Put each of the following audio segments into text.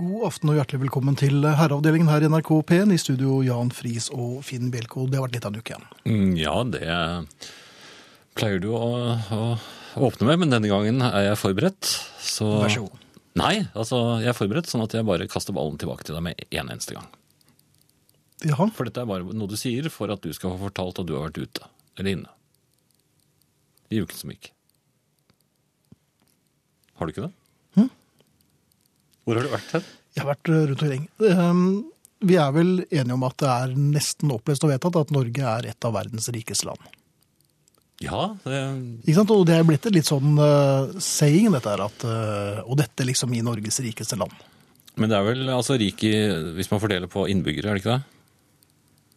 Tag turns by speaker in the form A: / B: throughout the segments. A: God aften og hjertelig velkommen til herreavdelingen her i NRK P1. I studio Jan Friis og Finn Bjelko. Det har vært litt av en uke igjen.
B: Mm, Ja, det pleier du å, å åpne med, men denne gangen er jeg forberedt. Så...
A: Vær så god.
B: Nei, altså jeg er forberedt sånn at jeg bare kaster ballen tilbake til deg med en eneste gang.
A: Jaha,
B: For dette er bare noe du sier for at du skal få fortalt at du har vært ute, eller inne. I uken som gikk. Har du ikke det?
A: Hm?
B: Hvor har du vært hen?
A: jeg har vært eh, rundt omkring. Ehm, Vi er vel enige om at det er nesten opplest og vedtatt at Norge er et av verdens rikeste land.
B: Ja, det...
A: Ikke sant? Og det er blitt et litt sånn eh, saying, dette her, at eh, Og dette liksom i Norges rikeste land.
B: men det er vel altså rik i Hvis man fordeler på innbyggere, er det ikke det?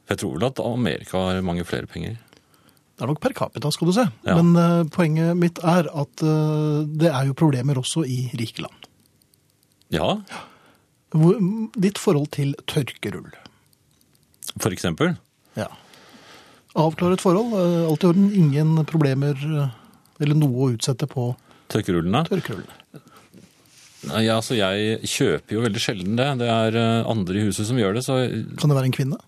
B: For Jeg tror vel at Amerika har mange flere penger.
A: Det er nok per capita, skal du se.
B: Ja.
A: Men eh, poenget mitt er at eh, det er jo problemer også i rike land.
B: Ja,
A: Hvor, ditt forhold til tørkerull.
B: For eksempel?
A: Ja. Avklaret forhold. eh, Alt i orden. Ingen problemer eh, eller noe å utsette på
B: Tørkerullene?
A: tørkerullene.
B: Nei, Ja, altså jeg kjøper jo veldig sjelden det. Det er eh, andre i huset som gjør det, så
A: Kan det være en kvinne?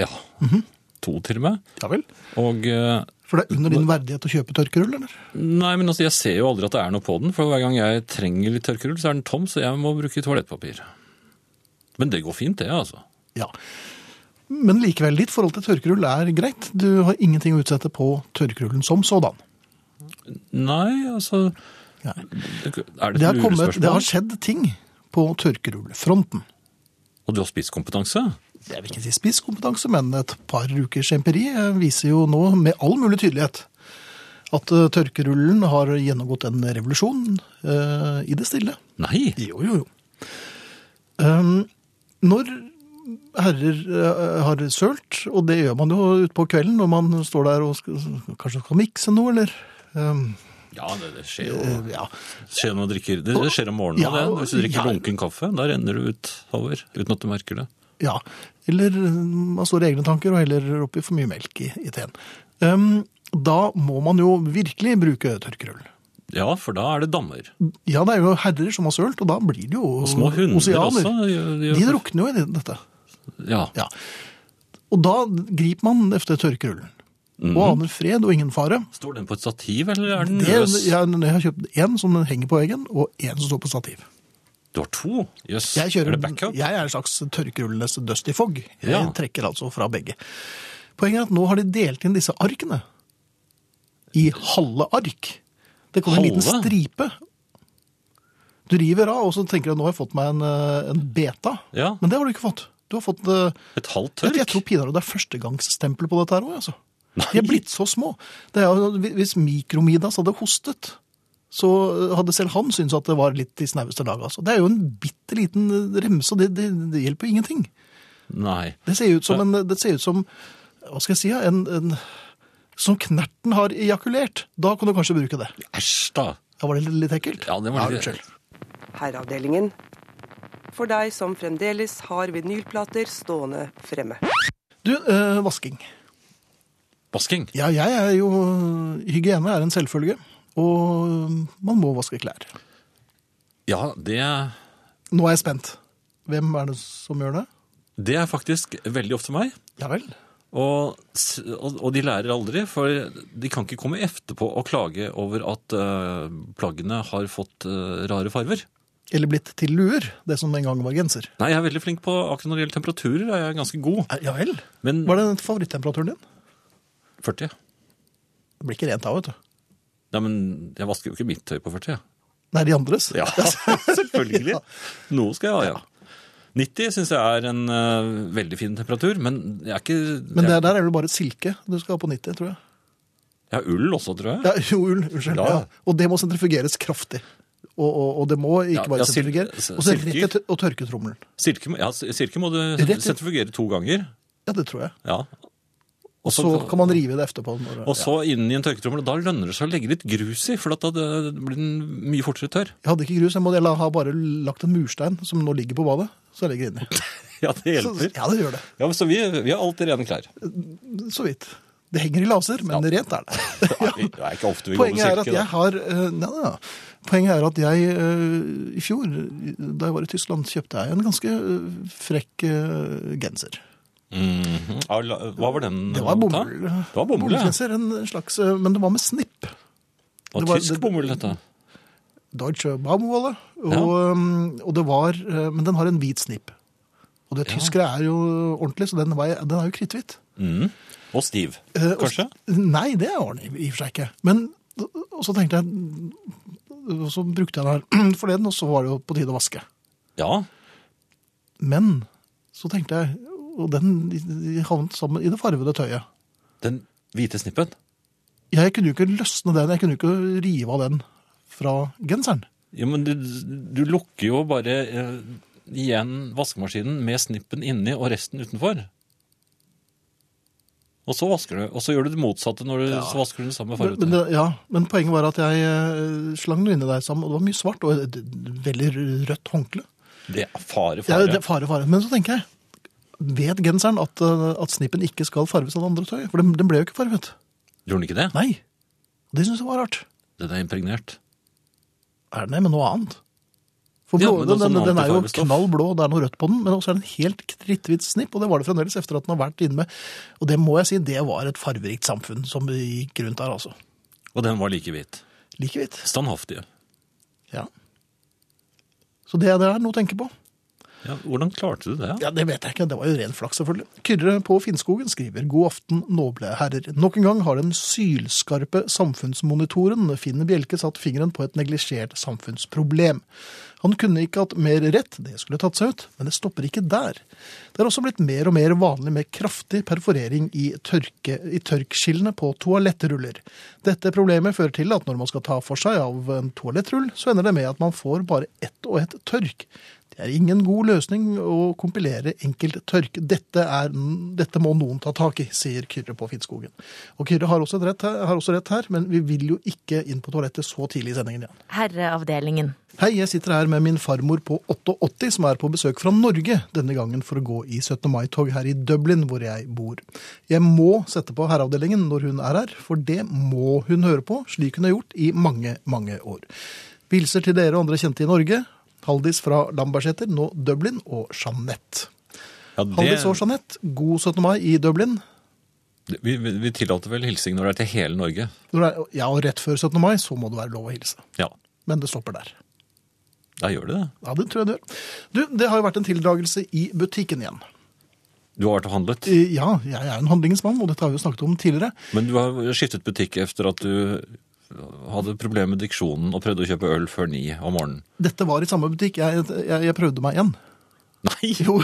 B: ja.
A: Mhm.
B: To til og med.
A: Ja vel.
B: Og eh,
A: For det er under din verdighet å kjøpe tørkerull, eller?
B: Nei, men altså jeg ser jo aldri at det er noe på den, for hver gang jeg trenger litt tørkerull, så er den tom, så jeg må bruke toalettpapir. Men det går fint, det, altså.
A: Ja. Men likevel, ditt forhold til tørkerull er greit. Du har ingenting å utsette på tørkerullen som sådan.
B: Nei, altså
A: Nei.
B: det- Er det
A: Det har,
B: et
A: kommet, det har
B: lurespørsmål?
A: skjedd ting på tørkerullfronten.
B: Og du har spisskompetanse?
A: Jeg vil ikke si spisskompetanse, men et par ukers empiri eh, viser jo nå med all mulig tydelighet at eh, tørkerullen har gjennomgått en revolusjon eh, i det stille.
B: Nei!
A: Jo, jo, jo. Um, når herrer eh, har sølt, og det gjør man jo utpå kvelden når man står der og skal, kanskje skal mikse noe, eller um,
B: Ja, det, det skjer jo
A: eh, ja.
B: skjer når man drikker, det, det skjer om morgenen,
A: Ja,
B: det. Hvis du drikker
A: ja.
B: lunken kaffe, da renner du utover uten at du merker det.
A: Ja, eller mm, man står i egne tanker og heller oppi for mye melk i, i teen. Ehm, da må man jo virkelig bruke tørkerull.
B: Ja, for da er det dammer.
A: Ja, det er jo herrer som har sølt, og da blir det jo
B: Og små hunder
A: Mm, oseaner.
B: også. gjør- gjør-
A: De drukner jo i det- dette.
B: Ja.
A: Ja. Og da griper man efter tørkerullen.
B: Mhm.
A: Og aner fred og ingen fare.
B: Står den på et stativ, eller er den
A: Det,
B: løs?
A: jeg, jeg har kjøpt én som henger på veggen, og én som står på stativ.
B: Du har to? Jøss.
A: Jeg, kjører,
B: Er det backup?
A: jeg er en slags tørkerullenes dusty fog. Jeg
B: Ja.
A: trekker altså fra begge. Poenget er at nå har de delt inn disse arkene i halve ark. Det kommer en liten
B: Halve?
A: stripe. Du river av, og så tenker du nå har jeg fått meg en, eh, en beta.
B: Ja.
A: Men det har du ikke fått. Du har fått eh,
B: Et halvt
A: jeg,
B: tørk?
A: jeg tror pinadø det er førstegangsstempel på dette her òg, altså.
B: Nei.
A: De er blitt så små. Det er, jo- hvis Mikromidas hadde hostet, så hadde selv han syntes at det var litt i snaueste laget. Altså. Det er jo en bitte liten eh, remse, og det, det, det hjelper jo ingenting.
B: Nei.
A: Det ser ut som, en, det ser ut som hva skal jeg si, ja, en, en som knerten har ejakulert. Da kan du kanskje bruke det.
B: Æsj, da.
A: Da var det litt, litt ekkelt.
B: Ja, det var litt-
A: unnskyld.
C: Herreavdelingen. For deg som fremdeles har vinylplater stående fremme.
A: Du, eh, vasking.
B: Vasking.
A: Ja, jeg er jo Hygiene er en selvfølge. Og man må vaske klær.
B: Ja, det,
A: Nå er jeg spent. Hvem er det som gjør det?
B: det er faktisk veldig ofte meg.
A: Ja vel.
B: Og, s- og, og de lærer aldri, for de kan ikke komme etterpå og klage over at eh, plaggene har fått eh, rare farver.
A: Eller blitt til luer, det som en gang var genser.
B: Nei, jeg er veldig flink på akkurat når det gjelder temperaturer, er jeg ganske god.
A: Ja vel.
B: Men
A: Hva er den favorittemperaturen din?
B: 40?
A: Det blir ikke rent av, vet du.
B: Nei, men jeg vasker jo ikke mitt tøy på 40. jeg.
A: Nei, de andres.
B: Ja, selvfølgelig.
A: Ja.
B: Noe skal jeg ha, ja. 90 syns jeg er en eh, veldig fin temperatur, men jeg er ikke
A: Men det
B: jeg,
A: der er vel bare et silke du skal ha på 90, tror jeg.
B: jeg har ull også, tror jeg.
A: Ja, jo, ull, unnskyld.
B: Ja.
A: Ja. Og det må sentrifugeres kraftig. Og, og, og det må ikke
B: Ja,
A: bare
B: ja, sil-
A: sentrifugeres.
B: s-
A: Og så
B: silker.
A: rett etter og tørketrommelen.
B: Silke, må- ja, silke må du
A: Rett ut.
B: sentrifugere to ganger.
A: Ja, det tror jeg.
B: Ja.
A: Og så kan man rive det etterpå. Når,
B: Og så inn i en tørketrommel, og da lønner det seg å legge litt grus i, for at da det- det blir den mye fortere tørr.
A: Jeg hadde ikke grus, jeg, må, jeg har bare lagt en murstein som nå ligger på badet, så jeg legger inni.
B: Ja, det
A: Så,
B: hjelper.
A: ja, det gjør det.
B: Ja, men Så vi, vi har alltid rene klær.
A: Så vidt. Det henger i laser, men
B: Ja.
A: rent er det.
B: Nei, Det er ikke ofte vi går på
A: Poenget er at
B: silke. da.
A: jeg har eh, nei, nei, nei. Poenget er at jeg eh, i fjor, da jeg var i Tyskland, kjøpte jeg en ganske eh, frekk eh, genser.
B: Mhm. Ah, la- Hva var den?
A: Det var
B: ta?
A: bomull.
B: Det var bomull, ja.
A: Bomullsgenser, en slags, eh, men det var med snipp.
B: Det
A: Det
B: var
A: var-
B: tysk bomull, dette.
A: Deutsche Baumwolle. Og,
B: Ja.
A: um, og det var eh, Men den har en hvit snipp. Og det tyskere er jo ordentlig, så den, var, den er jo kritthvit.
B: Mhm. Og stiv,
A: Eh, og-
B: kanskje?
A: Nei, det er den i i og for seg ikke. Men og så tenkte jeg Og så brukte jeg den her forleden, og så var det jo på tide å vaske.
B: Ja.
A: Men så tenkte jeg Og den de havnet sammen i det farvede tøyet.
B: Den hvite snippen.
A: Jeg kunne jo ikke løsne den, jeg kunne jo ikke rive av den fra genseren.
B: Ja, men du, du lukker jo bare eh, igjen vaskemaskinen med snippen inni og resten utenfor. Og så vasker du, og så gjør du det motsatte når du så vasker du den samme
A: Men, men
B: fargen.
A: det- ja, men poenget var at jeg eh, slang det inni deg sammen, og det var mye svart og et veldig rødt håndkle.
B: Det er fare,
A: Ja,
B: fare.
A: det, fare, fare. Men så tenker jeg, vet genseren at, eh, at snippen ikke skal farves av det andre tøyet? For den, den ble jo ikke farvet.
B: Gjorde den ikke det?
A: Nei. Og det synes jeg var rart.
B: Den er impregnert.
A: Er den det med noe annet? For
B: Ja,
A: blå, den,
B: men det er
A: den,
B: sånn
A: den er jo
B: antifarvestoff.
A: knall blå, det er noe rødt på den, men også er den helt kritthvit snipp, og det var det fremdeles etter at den har vært inne med. Og det må jeg si, det var et farverikt samfunn som gikk rundt der, altså.
B: Og den var like hvit.
A: Like hvitt.
B: Standhaftige.
A: Ja. Så det, det er noe å tenke på.
B: Ja, hvordan klarte du det?
A: Ja, Det vet jeg ikke, det var jo ren flaks selvfølgelig. Kyrre på Finnskogen skriver God aften, noble herrer. Nok en gang har den sylskarpe samfunnsmonitoren Finn Bjelke satt fingeren på et neglisjert samfunnsproblem. Han kunne ikke hatt mer rett, det skulle tatt seg ut, men det stopper ikke der. Det er også blitt mer og mer vanlig med kraftig perforering i, tørke, i tørkskillene på toalettruller. Dette problemet fører til at når man skal ta for seg av en toalettrull, så ender det med at man får bare ett og ett tørk. Det er ingen god løsning å kompilere enkelt tørk. Dette, er, dette må noen ta tak i, sier Kyrre på Finnskogen. Og Kyrre har også, et rett her, har også rett her, men vi vil jo ikke inn på toalettet så tidlig i sendingen igjen.
D: Herreavdelingen.
A: Hei, jeg sitter her med min farmor på 88 som er på besøk fra Norge denne gangen for å gå i 17. mai-tog her i Dublin, hvor jeg bor. Jeg må sette på herreavdelingen når hun er her, for det må hun høre på, slik hun har gjort i mange, mange år. Hilser til dere og andre kjente i Norge. Haldis fra Lambertseter, nå Dublin, og Jeanette.
B: Ja, det-
A: Haldis og Jeanette, god 17. mai i Dublin.
B: det- vi, vi vi tillater vel hilsing når det er til hele Norge.
A: Når det er- Ja, og rett før 17. mai, så må det være lov å hilse.
B: Ja,
A: Men det stopper der.
B: da gjør det det.
A: Ja, det tror jeg det gjør. Du, det har jo vært en tildragelse i butikken igjen.
B: Du har vært og handlet,
A: Eh, Ja, jeg er en handlingens mann, og dette har vi jo snakket om tidligere.
B: men du har skiftet butikk efter at du hadde problemer med diksjonen og prøvde å kjøpe øl før ni om morgenen.
A: Dette var i samme butikk. Jeg, jeg, jeg prøvde meg igjen.
B: Nei!
A: Jo.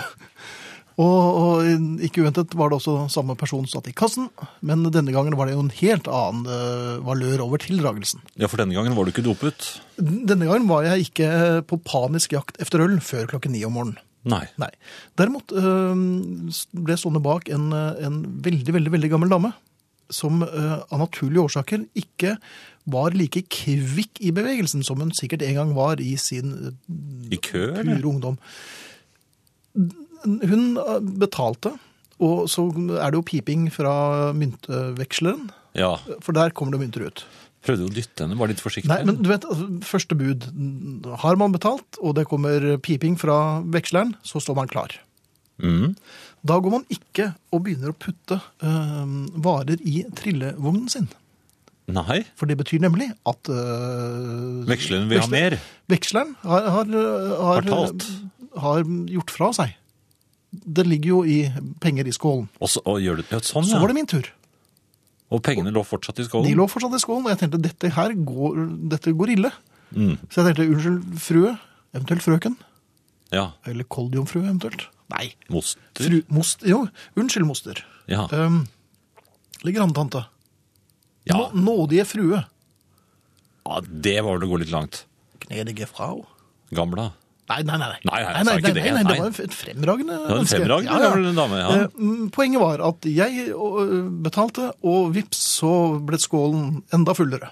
A: Og, og ikke uventet var det også samme person satt i kassen, men denne gangen var det jo en helt annen eh, valør over tildragelsen.
B: Ja, for denne gangen var du ikke dopet.
A: Denne gangen var jeg ikke på panisk jakt efter øl før klokken ni om morgenen.
B: Nei.
A: Nei. Derimot øh, ble jeg stående bak en, øh, en veldig, veldig, veldig gammel dame som øh, av naturlige årsaker ikke var like kvikk i bevegelsen som hun sikkert en gang var i sin øh,
B: I kø, eller?
A: pure ungdom. Hun øh, betalte, og så er det jo piping fra myntveksleren,
B: Ja.
A: for der kommer det mynter ut.
B: Prøvde å dytte henne, var litt forsiktig.
A: Nei, men du vet, altså, første bud. Har man betalt, og det kommer piping fra veksleren, så står man klar.
B: Mm.
A: Da går man ikke og begynner å putte eh, varer i trillevognen sin.
B: Nei.
A: For det betyr nemlig at eh,
B: Veksleren vil ha
A: veksle-
B: mer.
A: Veksleren har, har,
B: Har talt.
A: har gjort fra seg. Det ligger jo i penger i skålen.
B: Og så og gjør det ja, sånn,
A: Så
B: ja.
A: var det min tur.
B: Og pengene lå fortsatt i skålen.
A: De lå fortsatt i skålen, og jeg tenkte dette her går, dette går ille.
B: Mm.
A: Så jeg tenkte unnskyld, frue, eventuelt frøken.
B: Ja.
A: Eller koldjomfrue, eventuelt. Nei.
B: Moster.
A: Fru, most, jo, unnskyld, moster.
B: Ja.
A: Um, eller grandtante.
B: ja.
A: Nå- Nådige frue.
B: ja, det var vel å gå litt langt.
A: Gnedige frau.
B: Gamla.
A: Nei, nei, nei. Nei,
B: Nei, nei, jeg sa ikke det.
A: nei, nei,
B: Nei.
A: det var et fremragende
B: var en
A: menneske.
B: fremragende gammel dame, ja.
A: Eh, mm, Poenget var at jeg ø, betalte, og vips så ble skålen enda fullere.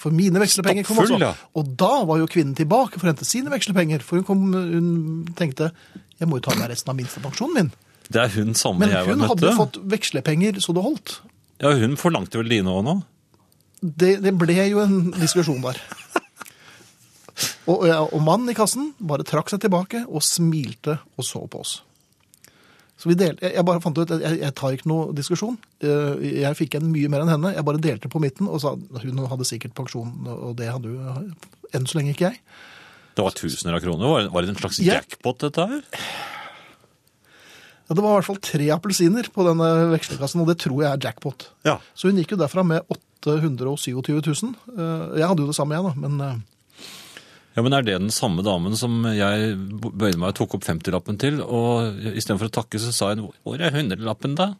A: For mine vekslepenger kom
B: Stappfull,
A: også.
B: ja.
A: Og da var jo kvinnen tilbake for å hente sine vekslepenger, for hun, kom, hun tenkte jeg må jo ta med resten av minstepensjonen min.
B: Det er hun samme
A: Men
B: jeg var
A: hun hadde
B: møtte.
A: jo fått vekslepenger så det holdt.
B: Ja, hun forlangte vel dine òg nå?
A: Det, det ble jo en diskusjon der. Og, og mannen i kassen bare trakk seg tilbake og smilte og så på oss. Så vi delte, jeg- jeg bare fant ut at jeg, jeg tar ikke noe diskusjon. Eh, Jeg fikk igjen mye mer enn henne. Jeg bare delte på midten og sa hun hadde sikkert pensjon, og det hadde hun enn så lenge ikke jeg.
B: Det var tusener av kroner. Var det- Var det en slags
A: Ja.
B: jackpot, dette her?
A: Ja, det var i hvert fall tre appelsiner på denne vekslekassen, og det tror jeg er jackpot.
B: Ja.
A: Så hun gikk jo derfra med 827 000. Eh, Jeg hadde jo det samme, jeg, da, men eh,
B: Ja, men Er det den samme damen som jeg bøyde meg og tok opp 50-lappen til? Og istedenfor å takke, så sa hun 'Hvor er 100-lappen, da?'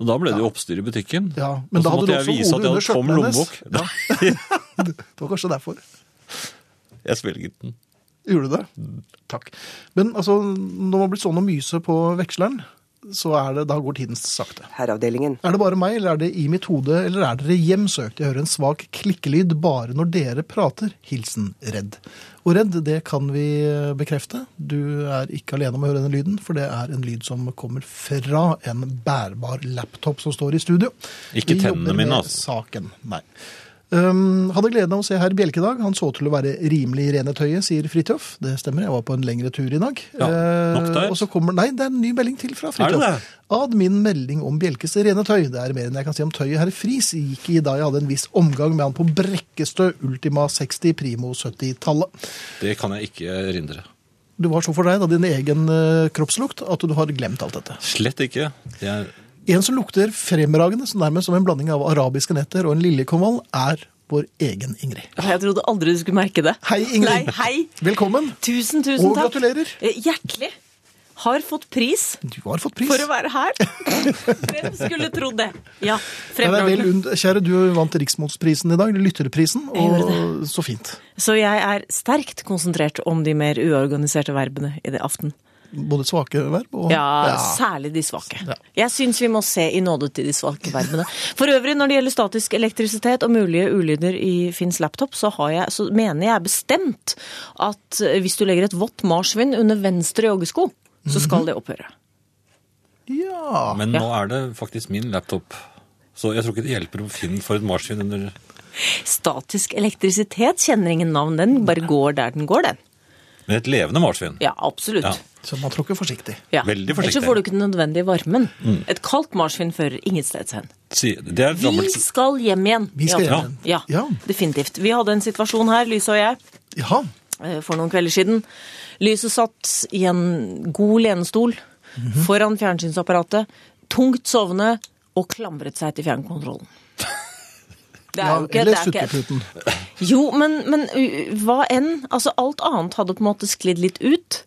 B: Og da ble det jo oppstyr i butikken.
A: Ja, men
B: og
A: da
B: så
A: hadde
B: måtte
A: du
B: jeg
A: også
B: vise at
A: hodet
B: jeg
A: under skjørten
B: hadde tom
A: hennes.
B: lommebok. Ja.
A: det var kanskje derfor.
B: Jeg svelget den.
A: Gjorde du det? Takk. Men altså, når man blir stående og myse på veksleren, så er det, da går tiden sakte.
C: Herreavdelingen.
A: Er det bare meg, eller er det i mitt hode, eller er dere hjemsøkt? Jeg hører en svak klikkelyd bare når dere prater. Hilsen Redd. Og Redd, det kan vi eh, bekrefte. Du er ikke alene om å høre denne lyden, for det er en lyd som kommer fra en bærbar laptop som står i studio.
B: Ikke
A: Vi
B: tennene
A: jobber
B: mine,
A: med
B: altså.
A: Saken, nei. Um, hadde gleden av å se herr Bjelkedag. Han så til å være rimelig i rene tøyet, sier Fridtjof. Det stemmer, jeg var på en lengre tur i dag.
B: Ja,
A: Eh,
B: nok der.
A: Og så kommer, nei, det er en ny melding til fra Fridtjof.
B: det?
A: Ad min melding om Bjelkes rene tøy. Det er mer enn jeg kan si om tøyet herr Friis gikk i da jeg hadde en viss omgang med han på Brekkestø Ultima 60 primo 70-tallet.
B: Det kan jeg ikke erindre.
A: Du var så fornøyd av din egen eh, kroppslukt at du har glemt alt dette.
B: Slett ikke. Det er
A: En som lukter fremragende, så nærmest som en blanding av arabiske netter og en liljekonvall, er vår egen Ingrid.
D: Jeg trodde aldri du skulle merke det.
A: Hei, Ingrid.
D: Nei, hei.
A: Velkommen.
D: Tusen, tusen
A: Og
D: takk.
A: gratulerer.
D: Eh, Hjertelig. Har fått pris
A: Du har fått pris.
D: for å være her. Hvem skulle trodd det? Ja,
A: Det er vel
D: fremragende.
A: und Kjære, du vant Riksmålsprisen i dag, lytterprisen, og så fint.
D: Så jeg er sterkt konsentrert om de mer uorganiserte verbene i det aften.
A: Både svake verb og
D: Ja, særlig de svake.
A: Ja.
D: Jeg syns vi må se i nåde til de svake verbene. For øvrig, når det gjelder statisk elektrisitet og mulige ulyder i Finns laptop, så, har jeg, så mener jeg bestemt at eh, hvis du legger et vått marsvin under venstre joggesko, så skal det opphøre.
A: Ja.
B: Men nå er det faktisk min laptop. Så jeg tror ikke det hjelper om Finn får et marsvin under
D: Statisk elektrisitet kjenner ingen navn. Den bare går der den går, den.
B: Men et levende marsvin.
D: Ja, absolutt.
B: Ja.
A: Så man tråkker forsiktig. Mm.
D: Ja.
B: Veldig
D: Ellers så
B: forsiktig.
D: får du ikke den nødvendige varmen. Et kaldt marsvin fører ingensteds hen.
B: Si- Det er et
D: Vi
B: gammelt
D: skal hjem igjen.
A: Vi skal
D: Ja.
A: hjem igjen.
D: Ja,
A: Ja.
D: definitivt. Vi hadde en situasjon her, Lyse og jeg,
A: Jaha.
D: eh, for noen kvelder siden. Lyse satt i en god lenestol
A: Mhm.
D: foran fjernsynsapparatet, tungt sovende, og klamret seg til fjernkontrollen. Det er
A: Ja,
D: jo ikke,
A: eller
D: det er ikke-
A: sutteputen.
D: Jo, men, men uh, hva enn? Altså, alt annet hadde på en måte sklidd litt ut.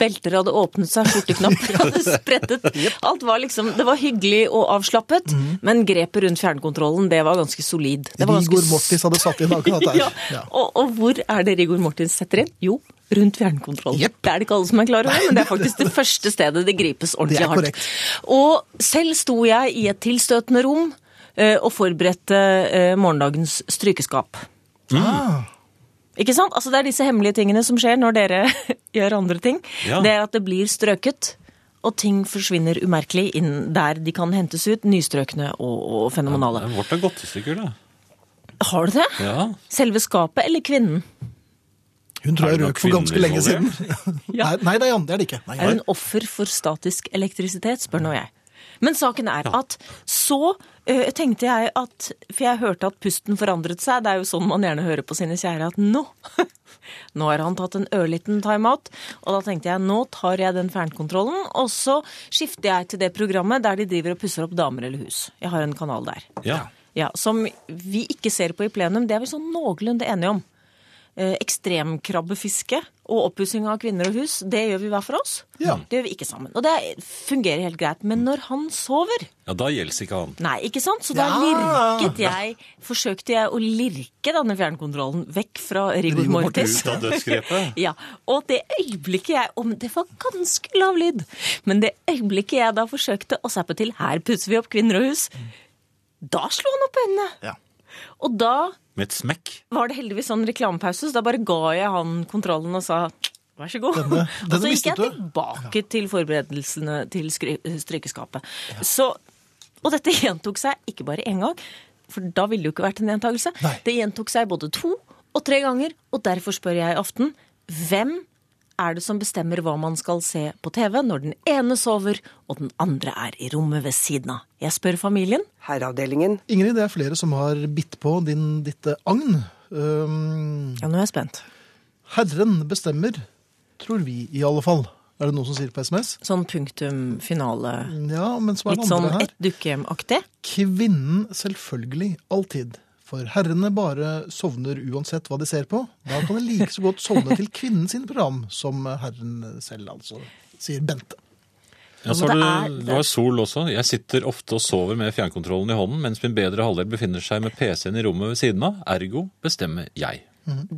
D: Belter hadde åpnet seg, skjorteknapper hadde sprettet. Alt var liksom, Det var hyggelig og avslappet,
A: Mhm.
D: men grepet rundt fjernkontrollen, det var ganske solid. Det var ganske
A: Rigor Mortis hadde satt inn akkurat der.
D: ja. Og, og hvor er det Rigor Mortens setter inn? Jo, rundt fjernkontrollen.
A: Jepp.
D: Det er det ikke alle som er klar over, men det er faktisk det første stedet det gripes
A: Det
D: ordentlig
A: er
D: hardt.
A: korrekt.
D: Og selv sto jeg i et tilstøtende rom eh, og forberedte eh, morgendagens strykeskap.
A: Ah,
D: Ikke sant? Altså, det er disse hemmelige tingene som skjer når dere gjør andre ting.
B: Ja.
D: Det er at det blir strøket, og ting forsvinner umerkelig inn der de kan hentes ut, nystrøkne og, og fenomenale.
B: Vårt er godtestykker, da.
D: Har du det?
B: Ja.
D: Selve skapet eller kvinnen?
A: hun tror
B: Er
A: jeg
B: det noe
A: røk for ganske lenge
B: kvinnelig
A: siden.
D: Ja.
A: Nei, Nei, det er Jan, det er det ikke. Nei,
D: Er hun offer for statisk elektrisitet, spør nå jeg. Men saken er at så eh, tenkte jeg at For jeg hørte at pusten forandret seg. Det er jo sånn man gjerne hører på sine kjære at nå Nå har han tatt en ørliten timeout. Og da tenkte jeg nå tar jeg den fjernkontrollen, og så skifter jeg til det programmet der de driver og pusser opp damer eller hus. Jeg har en kanal der.
B: ja.
D: Ja, Som vi ikke ser på i plenum. Det er vi sånn noenlunde enige om. Eh, ekstremkrabbefiske og oppussing av kvinner og hus, det gjør vi hver for oss.
A: Ja.
D: Det gjør vi ikke sammen. Og det fungerer helt greit. Men når han sover
B: ja da gjelder ikke han.
D: Nei, ikke sant? Så da
A: Ja.
D: lirket jeg Forsøkte jeg å lirke denne fjernkontrollen vekk fra rigor
A: Rigor
D: mortis.
B: Ut av dødsgrepet.
D: Ja, og det øyeblikket jeg om Det var ganske lav lyd. Men det øyeblikket jeg da forsøkte å zappe til 'her pusser vi opp kvinner og hus', da slo han opp øynene.
A: Ja.
D: Og da
B: Med et smekk.
D: var det heldigvis sånn reklamepause, så da bare ga jeg han kontrollen og sa vær så god.
A: Denne- denne
D: og så gikk jeg
A: mistet du.
D: tilbake til forberedelsene til skry- strykeskapet. Så Og dette gjentok seg ikke bare én gang, for da ville det jo ikke vært en gjentakelse.
A: Nei.
D: Det gjentok seg både to og tre ganger, og derfor spør jeg i aften hvem er det som bestemmer hva man skal se på TV når den ene sover og den andre er i rommet ved siden av? Jeg spør familien.
C: Herreavdelingen.
A: Ingrid, det er flere som har bitt på din, ditt eh, agn. Um,
D: Ja, nå er jeg spent.
A: herren bestemmer, tror vi i alle fall. Er det noen som sier det på SMS?
D: Sånn punktum finale.
A: Ja, men så er
D: Litt
A: det
D: sånn
A: andre her.
D: et dukkehjem-aktig.
A: Kvinnen selvfølgelig alltid. For herrene bare sovner uansett hva de ser på. Da kan de like så godt sovne til kvinnen sin program som herren selv, altså, sier Bente.
B: Ja, så har du,
D: Det er-
B: du har sol også. Jeg sitter ofte og sover med fjernkontrollen i hånden, mens min bedre halvdel befinner seg med PC-en i rommet ved siden av. Ergo bestemmer jeg.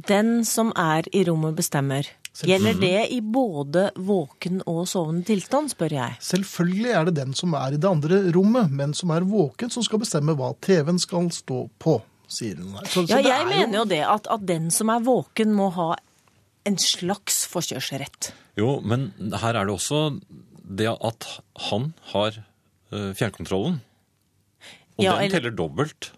D: Den som er i rommet, bestemmer. Gjelder det i både våken og sovende tilstand, spør jeg.
A: Selvfølgelig er det den som er i det andre rommet, men som er våken, som skal bestemme hva TV-en skal stå på, sier hun her. Så,
D: Ja,
A: det
D: jeg
A: er
D: mener jo det at, at den som er våken, må ha en slags forkjørsrett.
B: Jo, men her er det også det at han har eh, fjernkontrollen. Og
D: Ja,
B: den
D: eller-
B: teller dobbelt.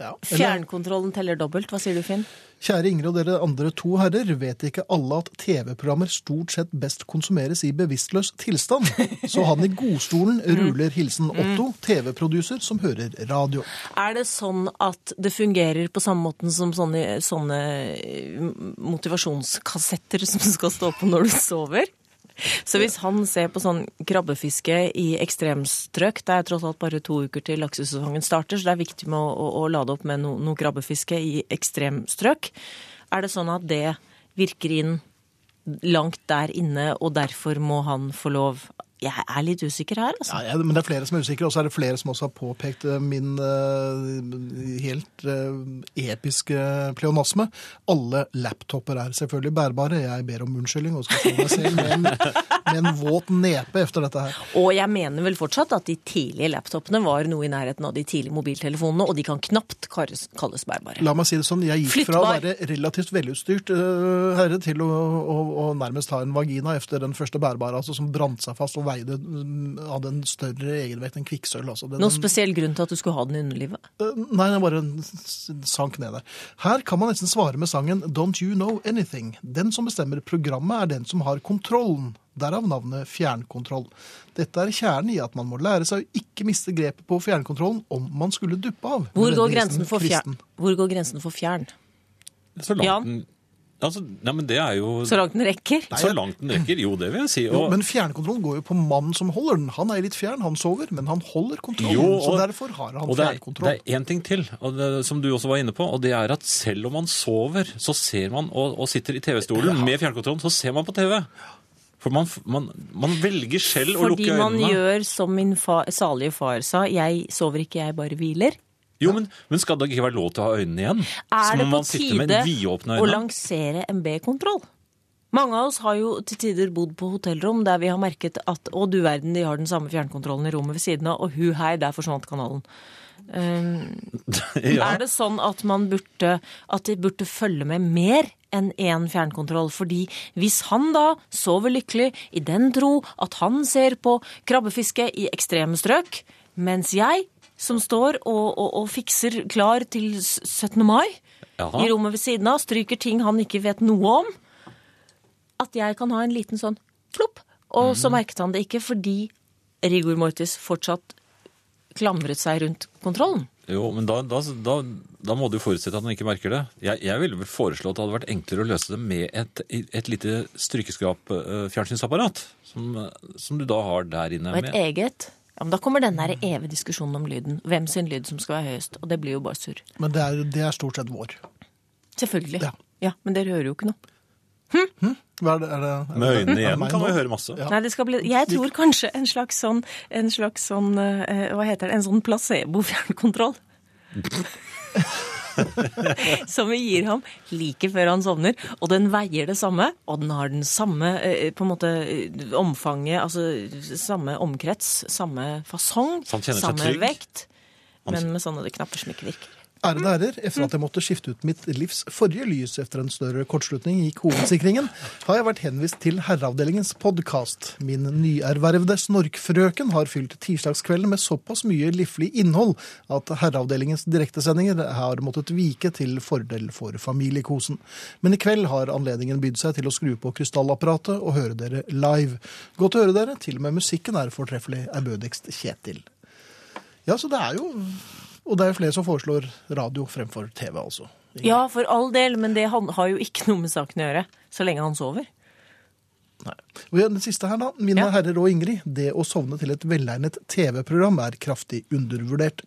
A: ja. Eller,
D: Fjernkontrollen teller dobbelt. Hva sier du, Finn?
A: Kjære Ingrid og dere andre to herrer, vet ikke alle at TV-programmer stort sett best konsumeres i bevisstløs tilstand? Så han i godstolen ruler hilsen Otto, TV-produser som hører radio.
D: Er det sånn at det fungerer på samme måten som sånne, sånne eh, motivasjonskassetter som skal stå på når du sover? Så hvis han ser på sånn krabbefiske i ekstremstrøk Det er tross alt bare to uker til laksesesongen starter, så det er viktig med å, å, å lade opp med no- noe krabbefiske i ekstremstrøk. Er det sånn at det virker inn langt der inne, og derfor må han få lov Jeg er litt usikker her, altså.
A: Ja, ja, men det er flere som er usikre, og så er det flere som også har påpekt eh, min eh, helt eh, episke pleonasme. Alle laptoper er selvfølgelig bærbare. Jeg ber om unnskyldning og skal få meg selv med en, med en våt nepe efter dette her.
D: Og jeg mener vel fortsatt at de tidlige laptopene var noe i nærheten av de tidlige mobiltelefonene, og de kan knapt kalles, kalles bærbare.
A: La meg si det sånn, jeg gikk fra å
D: Flyttbar.
A: være relativt velutstyrt eh, herre til å, å, å nærmest ha en vagina efter den første bærbare, altså som brant seg fast og veide, mm, hadde en større egenvekt enn kvikksølv. Altså. Den-
D: Noen spesiell grunn til at du skulle ha den i underlivet?
A: Eh, Nei, den bare s- sank ned der. Her kan man nesten svare med sangen Don't You Know Anything. Den som bestemmer programmet, er den som har kontrollen. Derav navnet fjernkontroll. Dette er kjernen i at man må lære seg å ikke miste grepet på fjernkontrollen om man skulle duppe av.
D: Hvor går
A: Nødvendigvis
D: grensen for
A: kristen.
D: fjern? Hvor går grensen for fjern?
B: Så langt
D: Ja.
B: den Altså, nei, men det er jo
D: Så langt den rekker?
B: så langt den rekker. Jo, det vil jeg si.
A: Jo,
B: Og,
A: men fjernkontrollen går jo på mannen som holder den. Han er litt fjern, han sover, men han holder kontrollen.
B: Jo,
A: så
B: og-
A: derfor har han
B: og det er, det
A: fjernkontroll.
B: er én ting til, og det, som du også var inne på, og det er at selv om man sover, så ser man, og, og sitter i TV-stolen med fjernkontrollen, så ser man på TV. For man, f- man, man velger selv å
D: Fordi
B: lukke
D: man
B: øynene.
D: gjør som min fa, salige far sa, jeg sover ikke, jeg bare hviler.
B: Jo, men, men skal det ikke være lov til å ha øynene igjen?
D: Er
B: så må
D: det på
B: man sitte med
D: tide
B: vidåpne
D: å
B: øyne.
D: lansere MB-kontroll? Mange av oss har jo til tider bodd på hotellrom der vi har merket at å du verden, de har den samme fjernkontrollen i rommet ved siden av, og hu hei, der forsvant kanalen.
B: ja.
D: Er det sånn at man burde, at de burde følge med mer enn én fjernkontroll? Fordi hvis han da sover lykkelig i den tro at han ser på krabbefiske i ekstreme strøk, mens jeg som står og, og, og fikser klar til s- 17. mai
B: Jaha.
D: i rommet ved siden av, stryker ting han ikke vet noe om, at jeg kan ha en liten sånn plopp, og
B: Mhm.
D: så merket han det ikke fordi rigor mortis fortsatt klamret seg rundt kontrollen.
B: Jo, men da, da, da, da må du forutsette at man ikke merker det. Jeg, jeg ville vel foreslå at det hadde vært enklere å løse det med et, et lite strykeskrap-fjernsynsapparat. Som, som du da har der inne.
D: Og et
B: Med.
D: eget. Ja, men da kommer den der evige diskusjonen om lyden. Hvem sin lyd som skal være høyest. Og det blir jo bare surr.
A: Men det er, det er stort sett vår.
D: Selvfølgelig.
A: Ja.
D: Ja. Men dere hører jo ikke noe.
A: Hva er det, er det, er det- er
B: Med
A: det
B: øynene igjen
A: meg
B: kan
A: nå?
B: man jo høre masse.
A: Ja.
D: Nei, det skal bli, jeg tror kanskje en slags sånn, en slags sånn eh, Hva heter det? En sånn placebo-fjernkontroll. som vi gir ham like før han sovner. Og den veier det samme, og den har den samme eh, på en måte eh, omfanget, altså samme omkrets, samme fasong,
B: Så han kjenner seg
D: samme
B: trygg?
D: vekt. Men med sånne knapper som ikke virker.
A: Ærede herrer, etter at jeg måtte skifte ut mitt livs forrige lys etter en større kortslutning i hovedsikringen, har jeg vært henvist til Herreavdelingens podkast. Min nyervervede snorkfrøken har fylt tirsdagskvelden med såpass mye liflig innhold at Herreavdelingens direktesendinger har måttet vike til fordel for familiekosen. Men i kveld har anledningen bydd seg til å skru på krystallapparatet og høre dere live. Godt å høre dere, til og med musikken er fortreffelig, ærbødigst Kjetil. Ja, så det er jo Og det er jo flere som foreslår radio fremfor TV, altså.
D: Ja, for all del, men det han- har jo ikke noe med saken å gjøre. Så lenge han sover.
A: Nei. Og ja, Den siste her, da. Mine
D: Ja.
A: herrer og Ingrid. Det å sovne til et velegnet TV-program er kraftig undervurdert.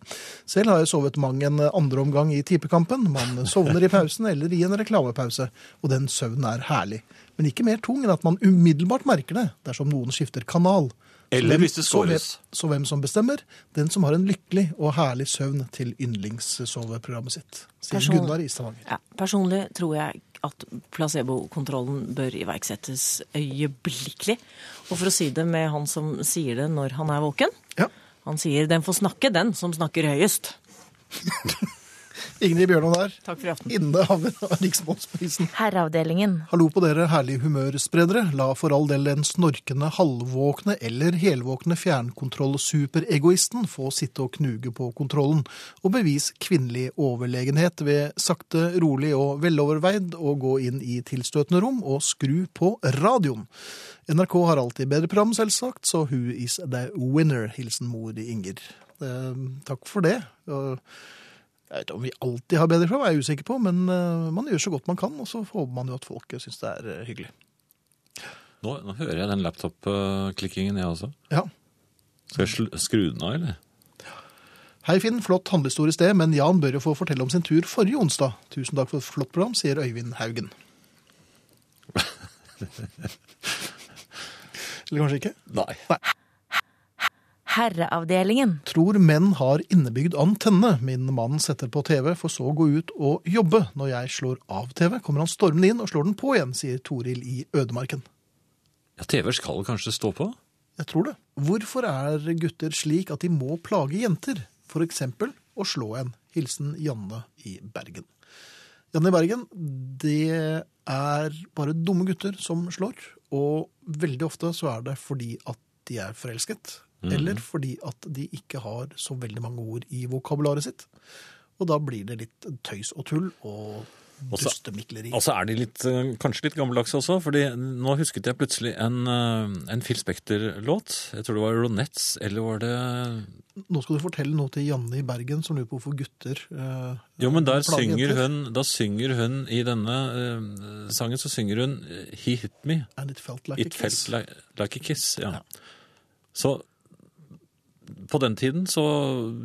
A: Selv har jeg sovet mang en andre omgang i typekampen. Man sovner i pausen eller i en reklamepause. Og den søvnen er herlig. Men ikke mer tung enn at man umiddelbart merker det dersom noen skifter kanal. Så
B: Eller
A: hvem-
B: hvis det
A: så hvem-
B: scores.
A: Så hvem som bestemmer? Den som har en lykkelig og herlig søvn til yndlingssoveprogrammet sitt. Sier
D: Personlig-
A: Gunnar i Stavanger.
D: Ja, personlig tror jeg at placebokontrollen bør iverksettes øyeblikkelig. Og for å si det med han som sier det når han er våken.
A: Ja.
D: Han sier 'den får snakke, den som snakker høyest'.
A: Ingrid Bjørnov der.
D: Takk for i aften.
A: Innehaver av Riksmålsprisen.
E: Herreavdelingen.
A: Hallo på dere herlige humørspredere. La for all del den snorkende, halvvåkne eller helvåkne fjernkontroll-superegoisten få sitte og knuge på kontrollen, og bevis kvinnelig overlegenhet ved sakte, rolig og veloverveid å gå inn i tilstøtende rom og skru på radioen. NRK har alltid bedre program, selvsagt, så who is the winner? Hilsen mor Inger. Eh, takk for det. Og jeg vet ikke om vi alltid har bedre program, er jeg usikker på, men eh, man gjør så godt man kan, og så håper man jo at folk syns det er eh, hyggelig.
B: Nå, nå hører jeg den laptop-klikkingen, jeg også.
A: Ja.
B: Skal jeg sl- skru den av, eller?
A: Hei Finn, flott handlehistorie i sted, men Jan bør jo få fortelle om sin tur forrige onsdag. Tusen takk for et flott program, sier Øyvind Haugen. Eller kanskje ikke?
B: Nei.
E: Herreavdelingen.
A: Tror menn har innebygd antenne. Min mann setter på TV, for så å gå ut og jobbe. Når jeg slår av TV, kommer han stormende inn og slår den på igjen, sier Toril i Ødemarken.
B: Ja, TV-er skal kanskje stå på?
A: Jeg tror det. Hvorfor er gutter slik at de må plage jenter? For eksempel å slå en. Hilsen Janne i Bergen. Janne i Bergen, det er bare dumme gutter som slår. Og veldig ofte så er det fordi at de er forelsket. Eller fordi at de ikke har så veldig mange ord i vokabularet sitt. Og da blir det litt tøys og tull og
B: så-
A: dustemikleri.
B: Altså er de litt, eh, kanskje litt gammeldagse også, fordi nå husket jeg plutselig en, eh, en Phil Spector-låt. Jeg tror det var Ronettes, eller var det
A: Nå skal du fortelle noe til Janne i Bergen som lurer på hvorfor gutter eh,
B: Jo, men der
A: plager
B: synger
A: jenter.
B: hun, da synger hun i denne eh, sangen, så synger hun eh, He Hit Me,
A: And it felt like a
B: It Felt
A: kiss.
B: Like, like a Kiss. Ja. Så på den tiden så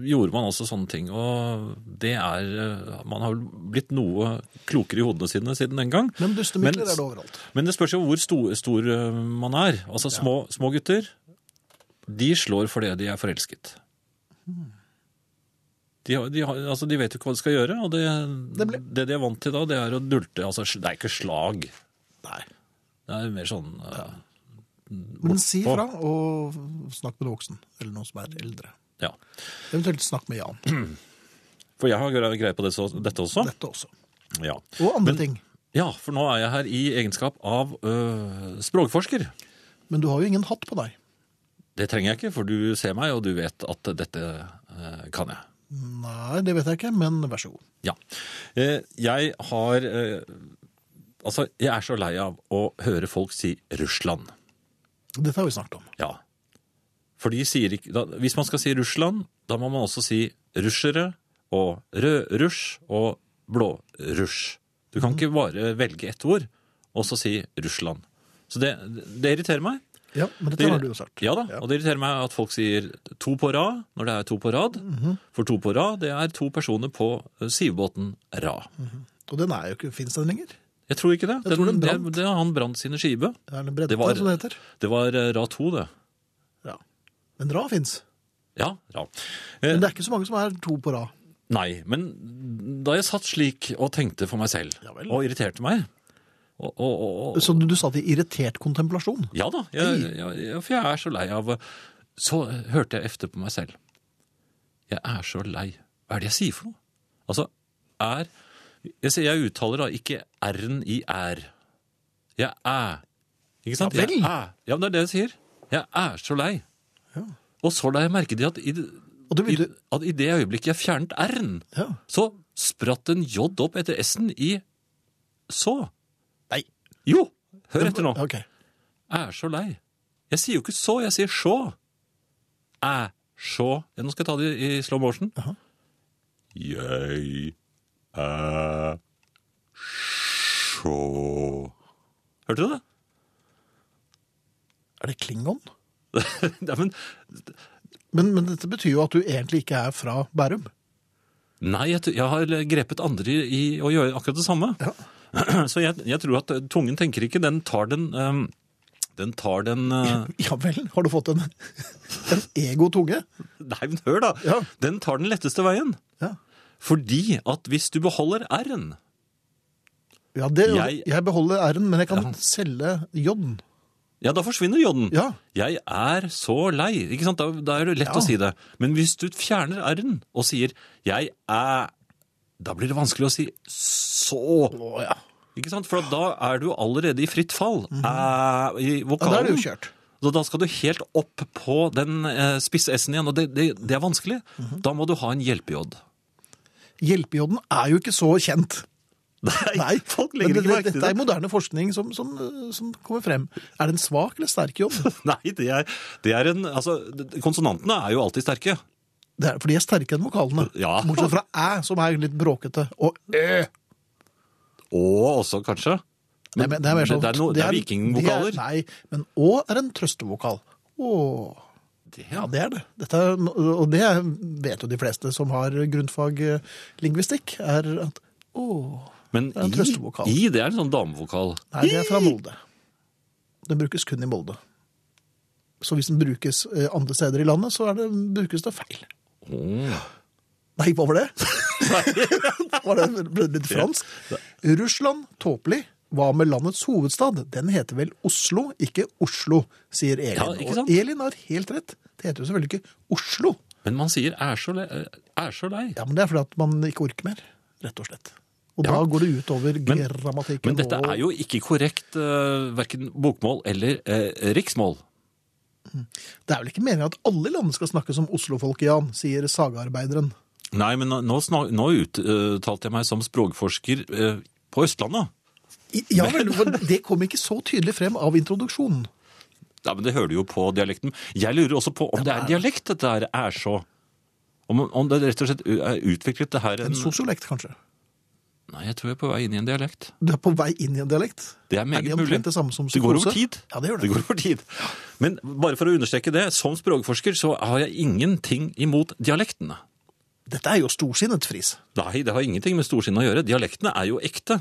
B: gjorde man altså sånne ting, og det er eh, Man har blitt noe klokere i hodene sine siden den gang.
A: Men dustemikler
B: Men-
A: er det overalt.
B: Men det spørs jo hvor stor, stor ø, man er. Altså små, små gutter, de slår fordi de er forelsket. De, har- de, har, altså, de vet jo ikke hva de skal gjøre, og det, det,
A: Det ble-
B: de er vant til da, det er å dulte. Altså, sl- det er ikke slag.
A: Nei.
B: Det er mer sånn ø,
A: Men si fra, og snakk med en voksen, eller noen som er eldre.
B: ja.
A: Eventuelt snakk med Jan.
B: For jeg har gre- greie på det, så, dette også.
A: Dette også.
B: Ja.
A: Og andre
B: Men-
A: ting.
B: ja, for nå er jeg her i egenskap av ø, språkforsker.
A: Men du har jo ingen hatt på deg.
B: Det trenger jeg ikke, for du ser meg, og du vet at dette ø, kan jeg.
A: Nei, det vet jeg ikke, men vær så god.
B: Ja. Eh, Jeg har eh, Altså, jeg er så lei av å høre folk si Russland.
A: Dette har vi snakket om.
B: Ja. For de sier ikke da, Hvis man skal si Russland, da må man også si russere og rødruss og blåruss. Du kan ikke bare velge ett ord og så si Russland. Så det, det irriterer meg.
A: Ja, men dette har du jo sagt.
B: Ja da, og det irriterer meg at folk sier to på rad når det er to på rad.
A: Mhm.
B: For to på rad, det er to personer på eh, sivbåten Ra.
A: Og den er jo ikke, finnes den lenger?
B: Jeg tror ikke det.
A: Jeg tror den
B: det,
A: brant.
B: det, han brant sine skive.
A: Det er den bredde,
B: Det var-
A: som det heter.
B: Det var eh, Ra 2, det.
A: Ja. Men Ra fins.
B: Ja, Ra. Eh,
A: Men det er ikke så mange som er to på rad.
B: Nei, men da jeg satt slik og tenkte for meg selv,
A: Ja vel.
B: og irriterte meg og, og, og, og,
A: Så du, du sa det i irritert kontemplasjon.
B: Ja da, jeg, jeg, jeg- for jeg er så lei av Så hørte jeg efter på meg selv. Jeg er så lei. Hva er det jeg sier for noe? Altså, er Jeg, sier- jeg uttaler da ikke R-en i er. Jeg er. Ikke sant?
A: Ja vel.
B: Jeg er. Ja, men det er det jeg sier. Jeg er så lei. Og så la jeg merke til at i, det-
A: Og du
B: i,
A: begynte
B: at i det øyeblikket jeg fjernet R-en,
A: Ja.
B: så spratt en J opp etter S-en i så.
A: Nei.
B: Jo, hør etter nå.
A: Ok.
B: Er så lei. Jeg sier jo ikke så, jeg sier sjå. Er sjå. Ja, Nå skal jeg ta det i slow motion.
A: Jaha.
B: Jeg er sjå. Hørte du det?
A: Er det klingon?
B: Nei, men,
A: Men, men dette betyr jo at du egentlig ikke er fra Bærum.
B: nei jeg, t- jeg har grepet andre i, i å gjøre akkurat det samme.
A: Ja.
B: Så jeg, jeg tror at eh, tungen tenker ikke, den tar den... ehm, den tar den... eh,
A: Ja vel, har du fått en, en ego-tunge?
B: Nei, men hør da!
A: Ja.
B: Den tar den letteste veien.
A: Ja.
B: Fordi at hvis du beholder R-en,
A: ja det, jeg...
B: Jeg-
A: beholder R-en, men jeg kan
B: Ja.
A: selge J-en.
B: ja, da forsvinner J-en.
A: Ja.
B: Jeg er så lei. Ikke sant? Da, da er det lett
A: Ja.
B: å si det. Men hvis du fjerner R-en og sier 'jeg er' Da blir det vanskelig å si 'så'.
A: Å ja.
B: Ikke sant? For da er du allerede i fritt fall. Æ, I
A: Mhm. ja. Da er
B: vokalen.
A: det jo kjørt.
B: Så da skal du helt opp på den eh, spisse S-en igjen, og det, det, det er vanskelig.
A: Mhm.
B: Da må du ha en hjelpe-J.
A: Hjelpejoden er jo ikke så kjent.
B: Nei, folk
A: men
B: legger
A: det,
B: ikke merke
A: det,
B: til
A: dette er
B: det.
A: moderne forskning som, som, som kommer frem. Er det en svak eller sterk jobb?
B: Nei, det er, det er en Altså, konsonantene er jo alltid sterke.
A: Det er, for de er sterkere enn vokalene.
B: Ja.
A: Bortsett fra æ, som er litt bråkete. Og ø.
B: Og også, kanskje.
A: Nei, men det er, mer sånn-
B: det er, noe- det er vikingvokaler.
A: det er- Nei, men å er en trøstevokal. Å,
B: Det-
A: ja det er det. Dette, er- og det er- vet jo de fleste som har grunnfag eh, lingvistikk, er at å,
B: Men
A: er en trøstevokal.
B: i, i det er en sånn damevokal.
A: nei, det er fra Molde. Den brukes kun i Molde. Så hvis den brukes eh, andre steder i landet, så er det, brukes det feil.
B: Åh.
A: Nei, hva var det? var det ble det litt fransk? Russland, tåpelig. Hva med landets hovedstad? Den heter vel Oslo, ikke Oslo, sier Elin.
B: Ja, ikke sant?
A: Og Elin har helt rett. Det heter jo selvfølgelig ikke Oslo.
B: Men man sier er så, le, er så lei.
A: Ja, men det er fordi at man ikke orker mer, rett og slett. Og da
B: Ja.
A: går det ut over
B: Men-
A: grammatikken.
B: Men dette
A: og-
B: er jo ikke korrekt uh, verken bokmål eller eh, riksmål.
A: Det er vel ikke meningen at alle land skal snakke som Oslo-folk, Jan, sier sagaarbeideren.
B: Nei, men nå, nå snak- nå uttalte jeg meg som språkforsker eh, på Østlandet.
A: I- Ja vel, for det kom ikke så tydelig frem av introduksjonen.
B: Ja, men Det hører du jo på dialekten. Jeg lurer også på om det er dialekt dette her er så. Om, om det rett og slett er utviklet det her
A: En sosiolekt, kanskje.
B: Nei, jeg tror jeg er på vei inn i en dialekt.
A: Du er på vei inn i en dialekt.
B: Det er meget
A: det omtrent
B: mulig.
A: det samme som
B: det går over
A: psykose?
B: tid.
A: Ja, det gjør det.
B: går over tid. Men bare for å understreke det, som språkforsker så har jeg ingenting imot dialektene.
A: Dette er jo storsinnet fris.
B: Nei, det har ingenting med storsinn å gjøre. Dialektene er jo ekte.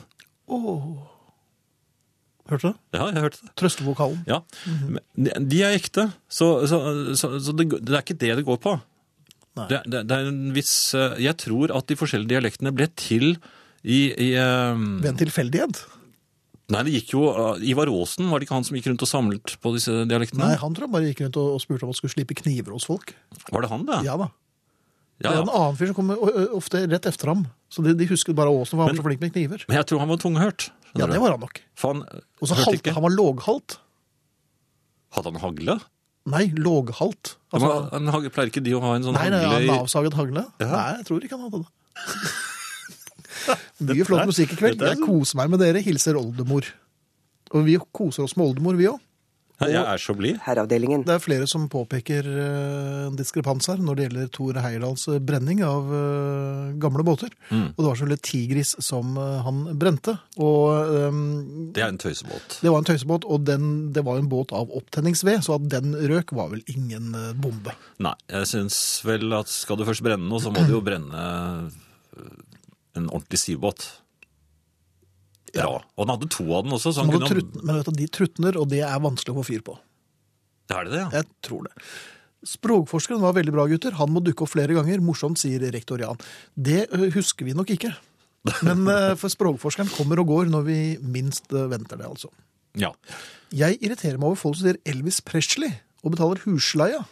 A: Hørte du?
B: Ja, jeg hørte det.
A: Trøstevokalen.
B: Ja,
A: Mhm.
B: Men De er ekte, så, så, så, så det, det er ikke det det går på.
A: Nei.
B: Det, det, det er en viss eh, Jeg tror at de forskjellige dialektene ble til i, i eh,
A: Ved en tilfeldighet?
B: Mm. Nei, det gikk jo eh, Ivar Aasen, var det ikke han som gikk rundt og samlet på disse dialektene?
A: Nei, han tror jeg bare gikk rundt og og spurte om han skulle slippe kniver hos folk.
B: Var det han, det?
A: Ja da.
B: Ja,
A: Det
B: ja.
A: er en annen fyr som kommer o- o- ofte rett efter ham. Så de, de husket bare Åsen, for han var så flink med kniver.
B: Men jeg tror han var tunghørt.
A: Ja,
B: skjønner
A: det
B: du.
A: var han nok.
B: For han eh,
A: Og så
B: hørte
A: halt,
B: ikke.
A: han var låghalt.
B: Hadde han hagle?
A: Nei, låghalt.
B: Det
A: Altså,
B: var- en hagle pleier ikke de å ha en sånn
A: nei, nei,
B: hagle
A: han
B: i
A: avsaget hagle. Nei, jeg tror ikke han hadde det. Mye flott musikk i kveld.
B: dette er
A: Jeg koser meg med dere. Hilser oldemor. Og vi koser oss med oldemor, vi òg.
B: Nei, Jeg er så blid.
C: Herreavdelingen.
A: Det er flere som påpeker eh, en diskrepans her når det gjelder Tor Heyerdahls brenning av eh, gamle båter.
B: Mm.
A: Og det var selvfølgelig Tigris som eh, han brente. Og eh,
B: Det er en tøysebåt.
A: det var en tøysebåt, og den, det var en båt av opptenningsved, så at den røk var vel ingen eh, bombe.
B: Nei, jeg syns vel at skal du først brenne noe, så må du jo brenne øh, en ordentlig sivbåt. Ja. Og han hadde to av den også, så
A: Men,
B: han
A: det
B: kunne
A: trutn- men vet du, de trutner, og det er vanskelig å få fyr på.
B: Er det det, ja?
A: Jeg tror det. Språkforskeren var veldig bra, gutter. Han må dukke opp flere ganger. Morsomt, sier rektor Jan. Det ø, husker vi nok ikke. Men ø, for språkforskeren kommer og går når vi minst ø, venter det, altså.
B: ja.
A: Jeg irriterer meg over folk som sier Elvis Presley og betaler husleia.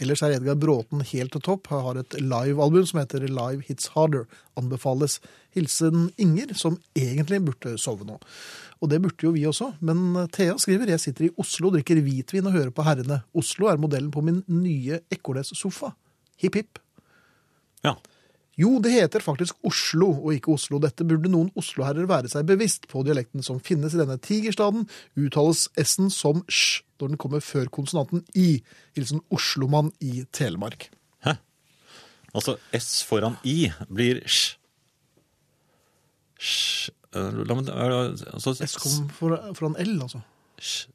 A: Ellers er Edgar Bråten helt til topp. Han har et livealbum som heter Live Hits Harder. Anbefales. Hilsen Inger, som egentlig burde sove nå. Og det burde jo vi også, men eh, Thea skriver jeg sitter i Oslo, drikker hvitvin og hører på herrene. Oslo er modellen på min nye Ekornes-sofa. Hipp hipp.
B: Ja.
A: Jo, det heter faktisk Oslo og ikke Oslo. Dette burde noen osloherrer være seg bevisst på. Dialekten som finnes i denne tigerstaden, uttales s-en som sj når den kommer før konsonanten i. Hilsen Oslomann i Telemark.
B: Altså S foran I blir sj. Sj eh, La meg eh, altså,
A: S kom for, foran L, altså.
B: sj-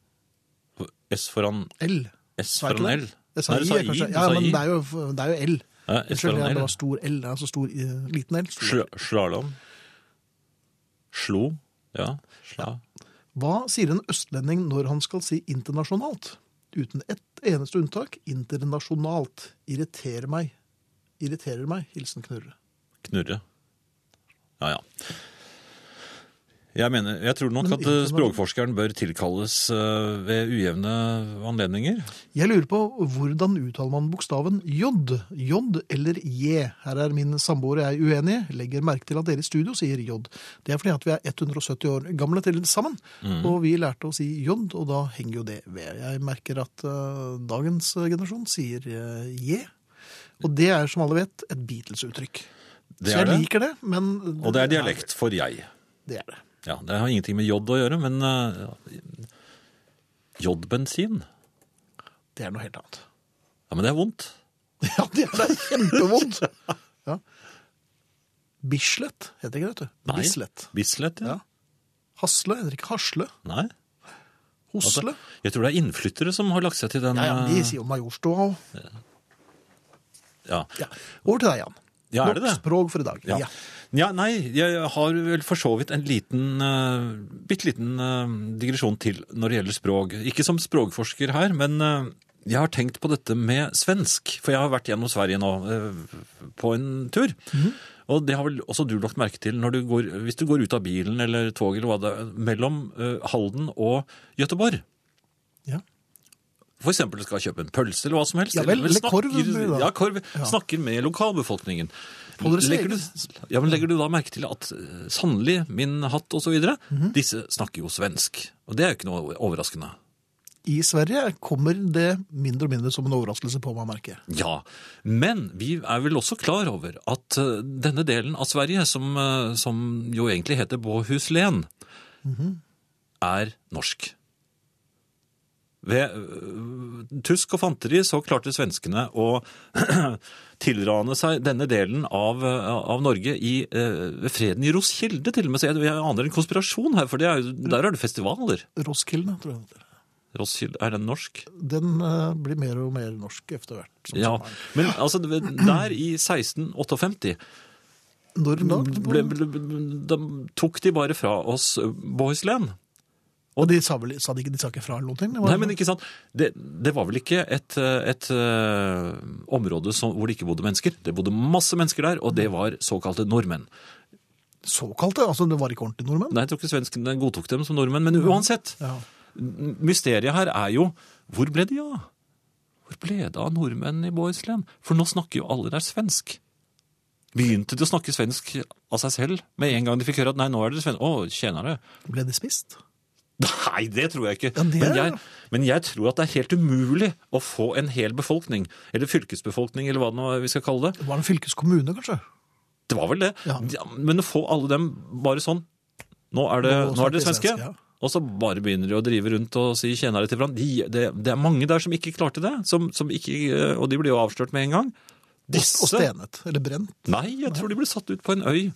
B: S foran
A: L.
B: S
A: Sa jeg ikke
B: foran L.
A: det? Jeg sa I,
B: Nei, du
A: jeg, kanskje.
B: du
A: Ja,
B: sa
A: men
B: I.
A: det er jo, det er jo L.
B: Ja, S
A: Unnskyld,
B: foran
A: ja,
B: L.
A: det var stor L. det er Altså stor, eh, liten L. Stor.
B: Sl- Slalåm. Slo. Ja. Sla.
A: Hva sier en østlending når han skal si internasjonalt? Uten ett eneste unntak internasjonalt. Irriterer meg. Irriterer meg. Hilsen Knurre.
B: Knurre. Ja, ja. Jeg, mener, jeg tror nok
A: Men
B: at
A: inntil
B: eh,
A: man-
B: språkforskeren bør tilkalles eh, ved ujevne anledninger.
A: Jeg lurer på hvordan uttaler man bokstaven J? J eller J? Her er min samboer og jeg uenige. Legger merke til at dere i studio sier J. Det er fordi at vi er 170 år gamle til sammen, og vi lærte å si J, og da henger jo det ved. Jeg merker at eh, dagens generasjon sier eh, J. Og det er, som alle vet, et Beatles-uttrykk.
B: Det
A: Så
B: er
A: jeg
B: det.
A: liker det, men
B: Og det er dialekt for jeg.
A: Det er det.
B: Ja, Det har ingenting med jod å gjøre, men eh, jodbensin
A: Det er noe helt annet.
B: Ja, men det er vondt.
A: Ja, det er da kjempevondt! Ja. Bislett heter ikke det, vet du.
B: Nei.
A: Bislett.
B: Bislett, ja.
A: Ja. Hasle heter ikke hasle.
B: Nei. Altså,
A: Hosle.
B: jeg tror det er innflyttere som har lagt seg til den
A: ja, ja, men de
B: eh,
A: sier jo Majorstua òg.
B: ja.
A: Ja. Over til deg, Jan.
B: Ja, er det
A: Nok
B: det?
A: språk for i dag.
B: Ja.
A: Ja.
B: ja, nei, jeg har vel for så vidt en liten, uh, bitte liten eh, digresjon til når det gjelder språk. Ikke som språkforsker her, men eh, jeg har tenkt på dette med svensk. For jeg har vært gjennom Sverige nå eh, på en tur. Og det har vel også du lagt merke til når du går, hvis du går ut av bilen eller tog eller hva det er, mellom eh, Halden og Gøteborg.
A: Ja.
B: For eksempel skal kjøpe en pølse eller hva som helst.
A: Ja vel, eller korv, blir det da.
B: Ja, korv.
A: Ja.
B: Snakker med lokalbefolkningen.
A: Holder det seg
B: Legger du, ja, men legger du da merke til at eh, sannelig, min hatt og så videre,
A: Mhm.
B: disse snakker jo svensk. Og det er jo ikke noe overraskende.
A: I Sverige kommer det mindre og mindre som en overraskelse på meg, merker jeg.
B: Ja, men vi er vel også klar over at eh, denne delen av Sverige, som, eh, som jo egentlig heter Båhuslen, er norsk. Ved eh, tusk og fanteri så klarte svenskene å tilrane seg denne delen av, eh, av Norge i eh, ved freden i Roskilde til og med. Så jeg, jeg aner en konspirasjon her, for det er, jo- der er det festivaler.
A: Roskilde, tror jeg. det heter.
B: Roskilde, er den norsk?
A: Den eh, blir mer og mer norsk etter hvert. sånn som
B: Ja,
A: sommeren.
B: men altså, der i 1658
A: Når da?
B: Mm, ble, ble, ble, de tok de bare fra oss eh, Bohuslän.
A: og de sa vel sa de ikke, de sa ikke fra eller noen ting? Det var-
B: Nei, men ikke sant? Det, det var vel ikke et, eh, et eh, område som, hvor det ikke bodde mennesker. Det bodde masse mennesker der, og det var såkalte nordmenn.
A: Såkalte? Altså, det var ikke ordentlige nordmenn?
B: Nei, jeg tror ikke svenskene godtok dem som nordmenn, men uansett.
A: Ja.
B: Mysteriet her er jo, hvor ble de av? Hvor ble det av nordmenn i Bohuslän? For nå snakker jo alle der svensk. Begynte de å snakke svensk av seg selv med en gang de fikk høre at nei, nå er dere svenske. Å, tjenere.
A: Ble de spist?
B: Nei, det tror jeg ikke.
A: Ja, det er
B: men,
A: det.
B: jeg, men jeg tror at det er helt umulig å få en hel befolkning, eller fylkesbefolkning, eller hva det nå er vi skal kalle det.
A: Det var en fylkeskommune, kanskje?
B: Det var vel det.
A: Ja.
B: Ja, men å få alle dem bare sånn Nå er det,
A: Nå
B: nå er
A: snakker
B: det
A: vi
B: svenske.
A: svensk, ja.
B: Og så bare begynner de å drive rundt og si tjenere til hverandre. De, det, det er mange der som ikke klarte det, som, som ikke, og de ble jo avslørt med en gang.
A: Og stenet? Eller brent?
B: Nei, jeg tror de ble satt ut på en øy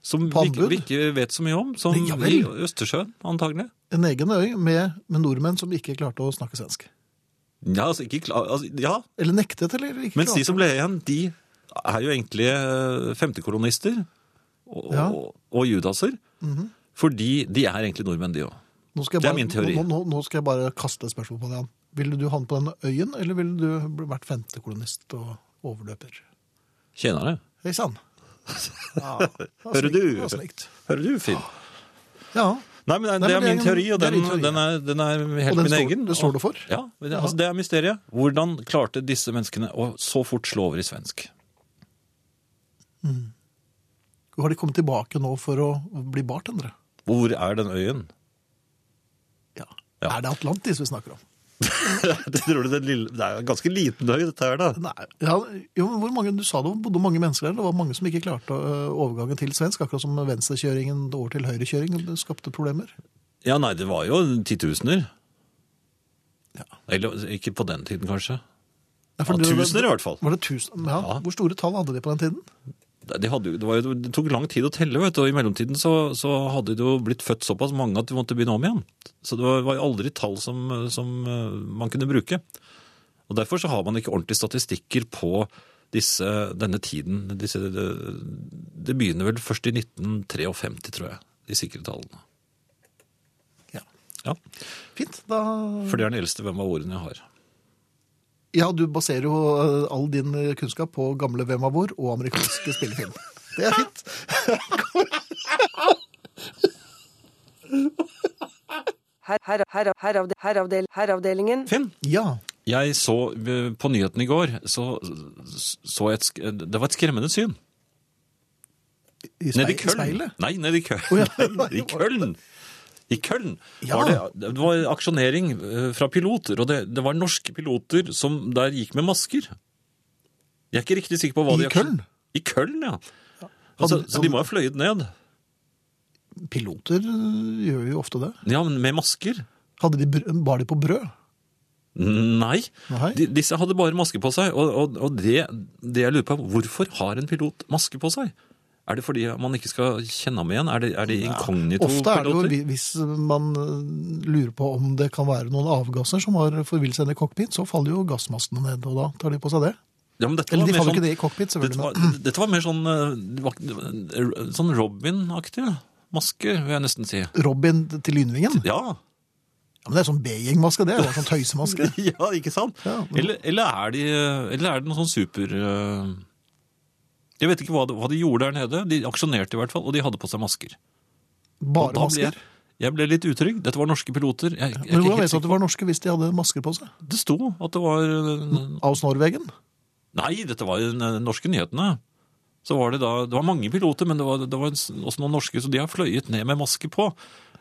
B: som
A: På
B: vi, ikke-
A: anbud?
B: vi ikke vet så mye om. Som
A: Ja vel.
B: i Østersjøen, antagelig.
A: En egen øy med, med nordmenn som ikke klarte å snakke svensk.
B: Ja, altså, ikke klar, altså, ja,
A: Eller nektet, eller ikke
B: Mens de
A: klarte.
B: som ble igjen, de er jo egentlig eh, femtekolonister og,
A: Ja. Mhm.
B: og, og judaser. Fordi de er egentlig nordmenn, de òg.
A: Nå skal jeg
B: Det er
A: bare,
B: min teori.
A: Nå, nå, nå skal jeg bare kaste et spørsmål på deg, Jan. Ville du havnet på denne øyen, eller ville du bl- vært femtekolonist og overløper?
B: Tjenerne.
A: Hei sann. Ja, det var
B: Hører
A: slikt,
B: du?
A: det var slikt.
B: Hører du, Finn?
A: Ja,
B: Nei, men
A: Nei, men
B: det, det er
A: det er
B: min
A: jo-
B: teori, og
A: det er
B: den,
A: din teori,
B: den, er, den er helt
A: Og den
B: min
A: står-
B: egen.
A: det står
B: Og-
A: du for?
B: Ja, det, altså det er mysteriet. Hvordan klarte disse menneskene å så fort slå over i svensk?
A: Har de kommet tilbake nå for å bli bartendere?
B: Hvor er den øyen?
A: Ja.
B: Ja.
A: Er det Atlantis vi snakker om?
B: det, tror du den lille, det er jo en ganske liten øy, dette her, da.
A: Nei, ja, jo, men hvor mange, Du sa det bodde mange mennesker der. Det var mange som ikke klarte øh, overgangen til svensk. Akkurat som venstrekjøringen over til høyrekjøring det skapte problemer.
B: Ja, nei, det var jo titusener.
A: Ja.
B: Eller ikke på den tiden, kanskje.
A: Nei,
B: Ja,
A: det- det-
B: tusener i hvert fall.
A: Var det tusen? Ja.
B: Ja.
A: Hvor store tall hadde de på den tiden?
B: De hadde, jo- det, var jo, det tok lang tid å telle, vet du, og i mellomtiden så, så hadde det jo blitt født såpass mange at de måtte begynne om igjen. Så det var, var jo aldri tall som, som eh, man kunne bruke. Og derfor så har man ikke ordentlige statistikker på disse, denne tiden. Disse, det, det begynner vel først i 1953, tror jeg, de sikre tallene.
A: Ja.
B: Ja,
A: Fint. Da...
B: for det er den eldste hvem av ordene jeg har.
A: Ja, du baserer jo øh, all din øh, kunnskap på gamle Hvem av hvor og amerikanske spillefilm. Det er fint.
C: Her, her, her, herav, heravdel, heravdelingen.
B: Finn,
A: Ja.
B: Jeg så eh, på nyheten i går, så, så jeg et, sk- det var et skremmende syn.
A: I
B: Nede i
A: spei-
B: Køln.
A: speilet.
B: Nei, nede i Køln. Nei, I Køln. I Køln
A: Ja.
B: var det, det var aksjonering eh, fra piloter, og det, det var norske piloter som der gikk med masker. Jeg er ikke riktig sikker på hva
A: I
B: de aksjon-
A: Køln?
B: I Køln, ja. Altså,
A: Hadde-
B: så de må ha fløyet ned.
A: Piloter øh, gjør jo ofte det.
B: Ja, men med masker.
A: Hadde de, br- bar de på brød?
B: Nei.
A: Nei.
B: De, disse hadde bare maske på seg, og, og, og det, det jeg lurer på er hvorfor har en pilot maske på seg? Er det fordi man ikke skal kjenne ham igjen? Er det, er
A: Ofte er det
B: det
A: jo
B: inkognito-piloter?
A: hvi- hvis man øh, lurer på om det kan være noen avgasser som har forvilt seg inn i cockpit, så faller jo gassmaskene ned, og da tar de på seg det.
B: Ja, men dette
A: Eller
B: var
A: de
B: mer
A: faller
B: sånn-
A: ikke det i cockpit,
B: Dette
A: selvfølgelig.
B: var, dette var mer sånn, eh, det var ikke- eh, sånn Robin-aktig masker, vil jeg nesten si.
A: men Robin til lynvingen?
B: Ja,
A: Ja, men det er sånn B-gjengmaske, det. er jo en Sånn tøysemaske.
B: ja ikke sant?
A: Ja, men-
B: eller, eller, er de, eh, eller er det noen sånn super... eh, Jeg vet ikke hva de, hva de gjorde der nede. De aksjonerte i hvert fall, og de hadde på seg masker. Og
A: Bare
B: da ble
A: masker.
B: jeg, jeg ble litt utrygg. Dette var norske piloter. Jeg, jeg,
A: Men
B: er ikke
A: hvordan
B: helt
A: vet du at det var norske hvis de hadde masker på seg?
B: sikker. det sto at det var eh,
A: Aus Norwegen?
B: Nei, dette var jo de norske nyhetene. Så var det da Det var mange piloter, men det var, det var også noen norske, så de har fløyet ned med maske på.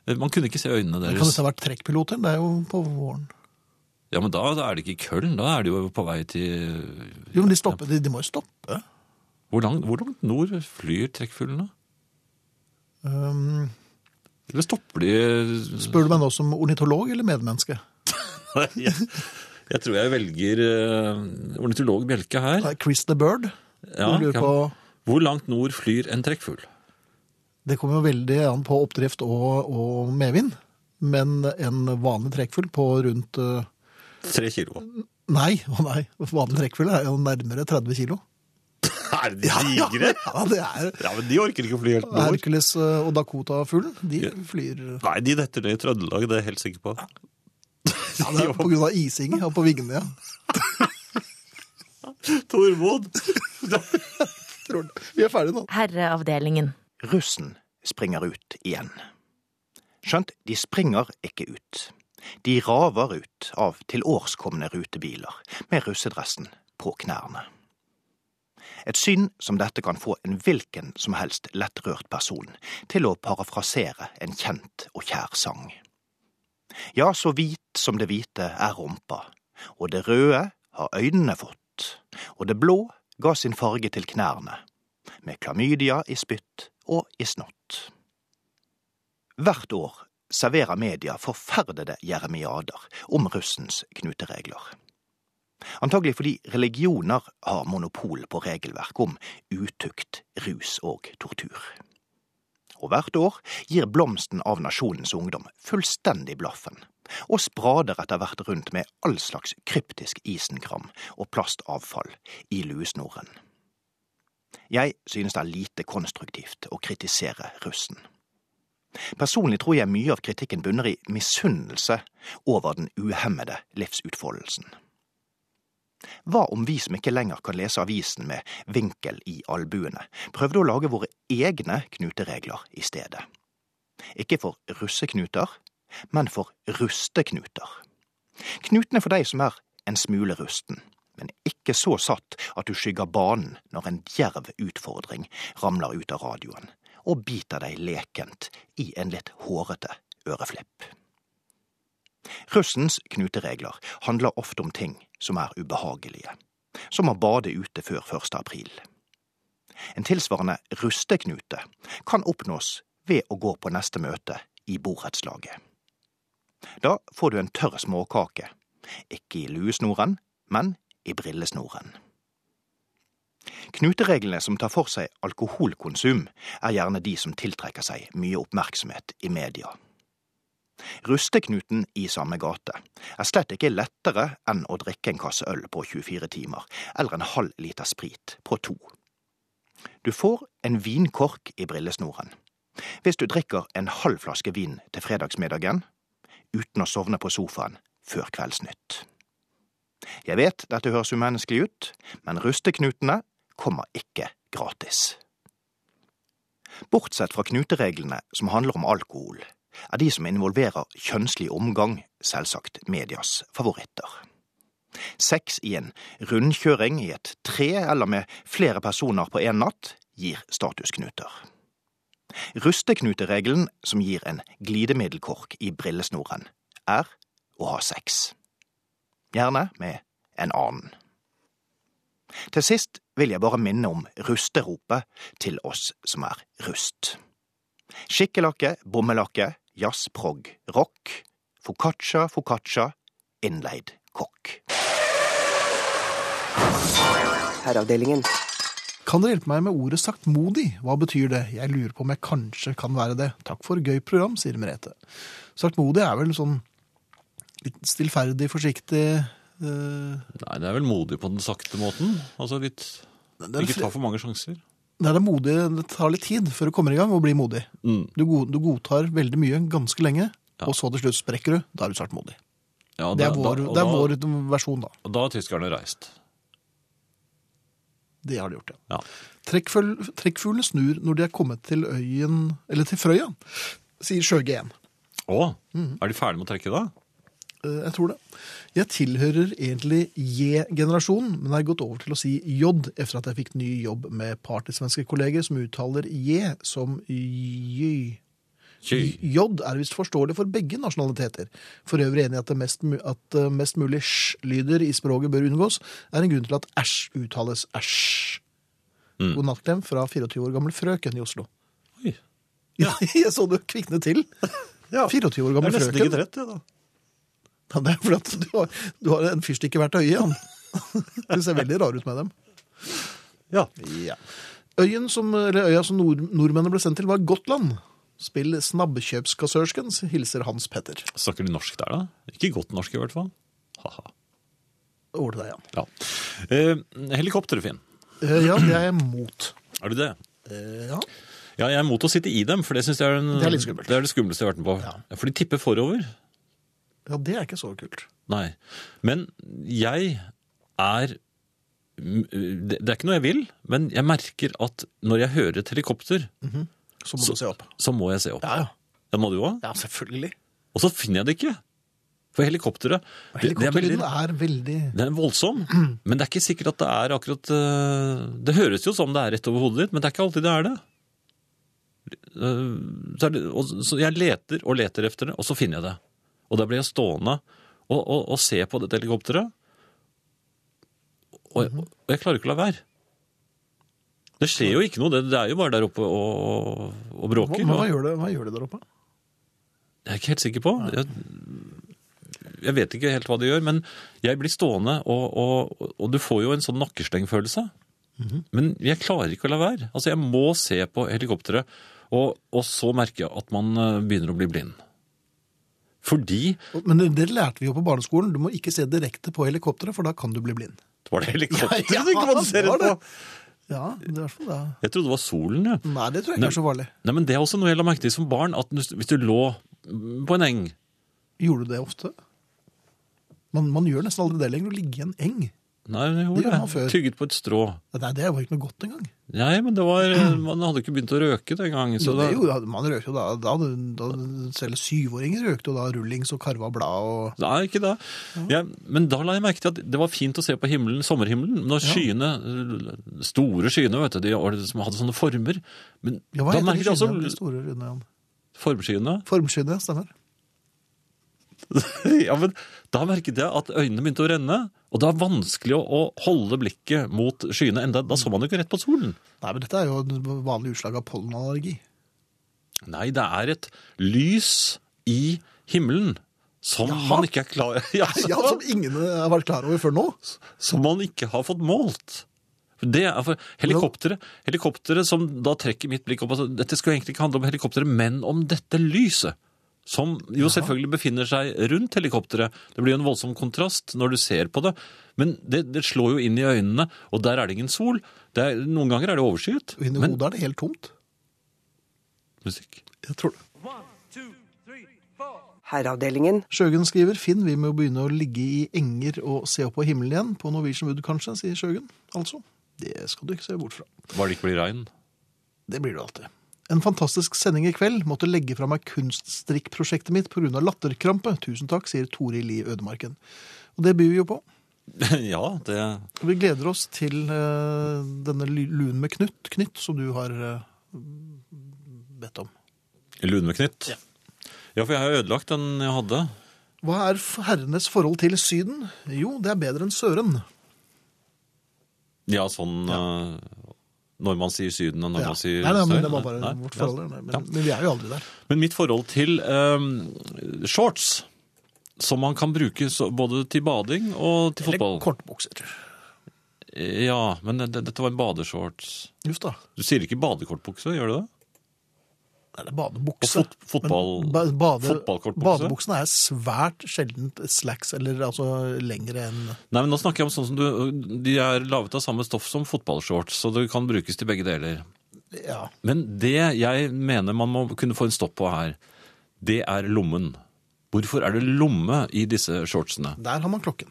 B: Eh, Man kunne ikke se øynene
A: Det kan
B: deres.
A: dette ha vært trekkpiloter? Det er jo på våren.
B: Ja, Men da er det ikke i Køln, da er de jo på vei til
A: Jo, men de, stopper, de, de må jo stoppe.
B: Hvor langt, hvor langt nord flyr trekkfuglene?
A: Um,
B: Eller stopper de
A: spør du meg nå som ornitolog eller medmenneske?
B: Nei, jeg, jeg tror jeg velger uh, ornitolog Bjelke her.
A: Nei, Chris the Bird?
B: Ja,
A: du lurer
B: kan-
A: på,
B: Hvor langt nord flyr en trekkfugl?
A: det kommer jo veldig an på oppdrift og, og medvind. Men en vanlig trekkfugl på rundt uh,
B: Tre kilo.
A: Nei, å nei. Vanlig trekkfugl er jo nærmere 30 kilo.
B: Er de digre?
A: Ja, det er
B: Ja, men de orker ikke å fly helt nord.
A: Hercules uh, og Dakota-fuglen. De flyr uh,
B: Nei, de detter ned i Trøndelag, det er jeg helt sikker på.
A: ja, det er På grunn av ising ja, på vingene, ja.
B: Tormod!
A: Tror det. Vi er ferdige nå.
D: Herreavdelingen.
E: Russen springer ut igjen. Skjønt, de springer ikke ut. De raver ut av tilårskomne rutebiler med russedressen på knærne. Et syn som dette kan få en hvilken som helst lettrørt person til å parafrasere en kjent og kjær sang. Ja, så hvit som det hvite er rumpa, og det røde har øynene fått, og det blå ga sin farge til knærne, med klamydia i spytt og i snott. Hvert år serverer media forferdede jeremiader om russens knuteregler. Antagelig fordi religioner har monopol på regelverk om utukt, rus og tortur. Og hvert år gir blomsten av nasjonens ungdom fullstendig blaffen, og sprader etter hvert rundt med all slags kryptisk isenkram og plastavfall i luesnoren. Jeg synes det er lite konstruktivt å kritisere russen. Personlig tror jeg mye av kritikken bunner i misunnelse over den uhemmede livsutfoldelsen. Hva om vi som ikke lenger kan lese avisen med vinkel i albuene, prøvde å lage våre egne knuteregler i stedet? Ikke for russeknuter, men for rusteknuter. Knutene for deg som er en smule rusten, men ikke så satt at du skygger banen når en djerv utfordring ramler ut av radioen og biter deg lekent i en litt hårete øreflipp. Russens knuteregler handler ofte om ting som er ubehagelige, som å bade ute før 1. april. En tilsvarende rusteknute kan oppnås ved å gå på neste møte i borettslaget. Da får du en tørr småkake, ikke i luesnoren, men i brillesnoren. Knutereglene som tar for seg alkoholkonsum, er gjerne de som tiltrekker seg mye oppmerksomhet i media. Rusteknuten i samme gate er slett ikke lettere enn å drikke en kasse øl på 24 timer, eller en halv liter sprit på to. Du får en vinkork i brillesnoren. Hvis du drikker en halv flaske vin til fredagsmiddagen, uten å sovne på sofaen før Kveldsnytt. Jeg vet dette høres umenneskelig ut, men rusteknutene kommer ikke gratis. Bortsett fra knutereglene som handler om alkohol, er de som involverer kjønnslig omgang, selvsagt medias favoritter. Sex i en rundkjøring i et tre eller med flere personer på én natt gir statusknuter. Rusteknuteregelen, som gir en glidemiddelkork i brillesnoren, er å ha sex. Gjerne med en annen. Til sist vil jeg bare minne om rusteropet til oss som er rust. Skikkelakke, bommelakke, jazz, prog, rock. Foccaccia, foccaccia, innleid kokk.
C: Herreavdelingen.
A: Kan dere hjelpe meg med ordet saktmodig? Hva betyr det? Jeg lurer på om jeg kanskje kan være det. Takk for gøy program, sier Merete. Saktmodig er vel sånn litt stillferdig, forsiktig eh,
B: Nei, det er vel modig på den sakte måten. Altså litt
A: det er
B: Ikke
A: fl-
B: ta for mange sjanser.
A: Det er det modige. Det tar litt tid før du kommer i gang og blir modig.
B: Mm.
A: Du, go du godtar veldig mye ganske lenge,
B: Ja.
A: og så til slutt sprekker du. Da er du saktmodig.
B: Ja,
A: Det
B: da-
A: er vår,
B: da- og
A: det er
B: da-
A: vår versjon, da.
B: Og da har tyskerne reist.
A: Det har de gjort, ja.
B: Ja.
A: Trekkfugl- Trekkfuglene snur når de er kommet til øyen, eller til Frøya, sier Sjøge 1.
B: Å, er de ferdige med å trekke da?
A: Eh, Jeg tror det. Jeg tilhører egentlig J-generasjonen, men har gått over til å si J etter at jeg fikk ny jobb med partysvenske kolleger som uttaler J som J.
B: Tjy.
A: J er visst forståelig for begge nasjonaliteter. For øvrig enig i at, det mest, mu- at eh, mest mulig sj-lyder i språket bør unngås, er en grunn til at æsj uttales æsj. God nattklem fra 24 år gammel frøken i Oslo.
B: Mm. Oi.
A: Ja, jeg så du kvikne til. 24 år gammel frøken.
B: trett, jeg, da.
A: Ja, det er fordi at du har, du har en fyrstikk i hvert øye, Jan. Du ser veldig rar ut med dem.
B: Ja.
A: Øyen som, eller øya som nord, nordmennene ble sendt til, var Gotland. Spill Snabbkjøpskassørskens, hilser Hans Petter.
B: Snakker de norsk der, da? Ikke godt norsk, i hvert fall. Haha.
A: Over til deg, Jan.
B: Ja. Eh, helikoptre, Finn.
A: Eh, Ja, det er jeg mot.
B: Er du det?
A: Eh, Ja.
B: Ja, jeg er mot å sitte i dem, for det syns jeg er, en,
A: Det er litt skummelt.
B: det er det skumleste jeg har vært med på. For de tipper forover.
A: ja, det er ikke så kult.
B: Nei. Men jeg er Det det er ikke noe jeg vil, men jeg merker at når jeg hører et helikopter,
A: Så må
B: Så-
A: du se opp.
B: så må jeg se opp.
A: Ja, ja.
B: Det må du òg.
A: Ja, selvfølgelig.
B: Og så finner jeg det ikke. For helikopteret det, det er veldig,
A: Helikopterlyden er veldig
B: den er voldsom, men det er ikke sikkert at det er akkurat eh, Det høres jo som det er rett over hodet ditt, men det er ikke alltid det er det. Eh, Så, er det og, så jeg leter og leter efter det, og så finner jeg det. Og da blir jeg stående og, og, og se på dette helikopteret,
A: Mhm.
B: og, jeg- og jeg klarer ikke å la være. Det skjer jo ikke noe, det, det er jo bare der oppe og, og
A: hva,
B: bråker.
A: men
B: og-
A: hva, gjør det, hva gjør det der oppe?
B: det er jeg ikke helt sikker på. Jeg, jeg vet ikke helt hva det gjør, men jeg blir stående, og, og, og du får jo en sånn nakkeslengfølelse.
A: Mhm.
B: Men jeg klarer ikke å la være. Altså, jeg må se på helikopteret, og, og så merker jeg at man eh, begynner å bli blind. Fordi
A: Men det, det lærte vi jo på barneskolen. Du må ikke se direkte på helikopteret, for da kan du bli blind.
B: Var det helikopteret
A: Ja,
B: du
A: det
B: ikke
A: var
B: mannseret
A: det.
B: på?
A: Ja, det er i hvert fall det.
B: Jeg trodde det var solen, jeg.
A: Nei, det tror jeg
B: Nei.
A: ikke er så farlig.
B: Nei, men det er også noe jeg la merke til som barn, at hvis du lå på en eng
A: Gjorde du det ofte? Man, man gjør nesten aldri det lenger, å ligge i en eng.
B: Nei, det
A: Det
B: gjorde
A: gjorde man
B: det.
A: før.
B: Tygget på et strå.
A: Nei, det var ikke noe godt engang.
B: Nei, men det var, eh, man hadde ikke begynt å røke den gangen.
A: Så
B: Så
A: det,
B: da-
A: jo, man røkte jo da, da, da Selv syvåringer røkte jo da rullings og karva blad og
B: Det er ikke det. Jeg- men da la jeg merke til at det var fint å se på himmelen, sommerhimmelen når skyene, store skyene, vet du, de var det som hadde sånne former. Men
A: ja, Hva
B: da
A: heter de
B: merket jeg
A: skyene? De
B: også
A: store runde igjen?
B: formskyene.
A: Formskyene, stemmer.
B: ja, men da merket jeg at øynene begynte å renne, og det var vanskelig å, å holde blikket mot skyene enda. Da så man jo ikke rett på solen.
A: Nei, men dette er jo et vanlig utslag av pollenallergi.
B: Nei, det er et lys i himmelen som man ikke er klar ja,
A: Ja, altså, Som ingen har vært klar over før nå.
B: som man ikke har fått målt. For Det er for helikopteret, helikopteret som da trekker mitt blikk opp. Altså, dette skulle egentlig ikke handle om helikopteret, men om dette lyset. Som jo selvfølgelig befinner seg rundt helikopteret. Det blir jo en voldsom kontrast når du ser på det. Men det, det slår jo inn i øynene, og der er det ingen sol. Det er, noen ganger er det overskyet.
A: Og Inni
B: Men
A: hodet er det helt tomt.
B: musikk.
A: Jeg tror det.
C: Herreavdelingen.
A: Sjøgen skriver Finn, vi må begynne å ligge i enger og se opp på himmelen igjen. På Norwegian Wood, kanskje, sier Sjøgen. Altså. Det skal du ikke se bort fra.
B: Bare det ikke blir regn.
A: Det blir det alltid. En fantastisk sending i kveld. Måtte legge fra meg kunststrikkprosjektet mitt pga. latterkrampe. Tusen takk, sier Toril i Ødemarken. Og det byr vi jo på.
B: ja, det
A: Og Vi gleder oss til eh, denne ly- luen med knytt, knytt som du har eh, bedt om.
B: Luneknytt. Ja. ja, for jeg har ødelagt den jeg hadde.
A: Hva er f- herrenes forhold til Syden? Jo, det er bedre enn Søren.
B: Ja, sånn eh, Når man sier Syden, og når
A: Ja.
B: man sier
A: nei, nei, men
B: Sør,
A: det var bare
B: nei,
A: vårt
B: ja.
A: forhold. Nei, Men, men vi er jo aldri der.
B: Men mitt forhold til eh, shorts, som man kan bruke så, både til bading og til fotball
A: Eller kortbukser.
B: Ja, men det, det- dette var en badeshorts.
A: Just da.
B: Du sier ikke badekortbukse, gjør du det?
A: Nei, det er badebukse.
B: Og fot- fotball-
A: Men ba bade
B: fotballkortbukse?
A: Badebuksene er svært sjeldent slacks, eller altså lengre enn
B: Nei, men nå snakker jeg om sånn som du De er laget av samme stoff som fotballshorts, så det kan brukes til begge deler.
A: Ja.
B: Men det jeg mener man må kunne få en stopp på her, det er lommen. Hvorfor er det lomme i disse shortsene?
A: Der har man klokken.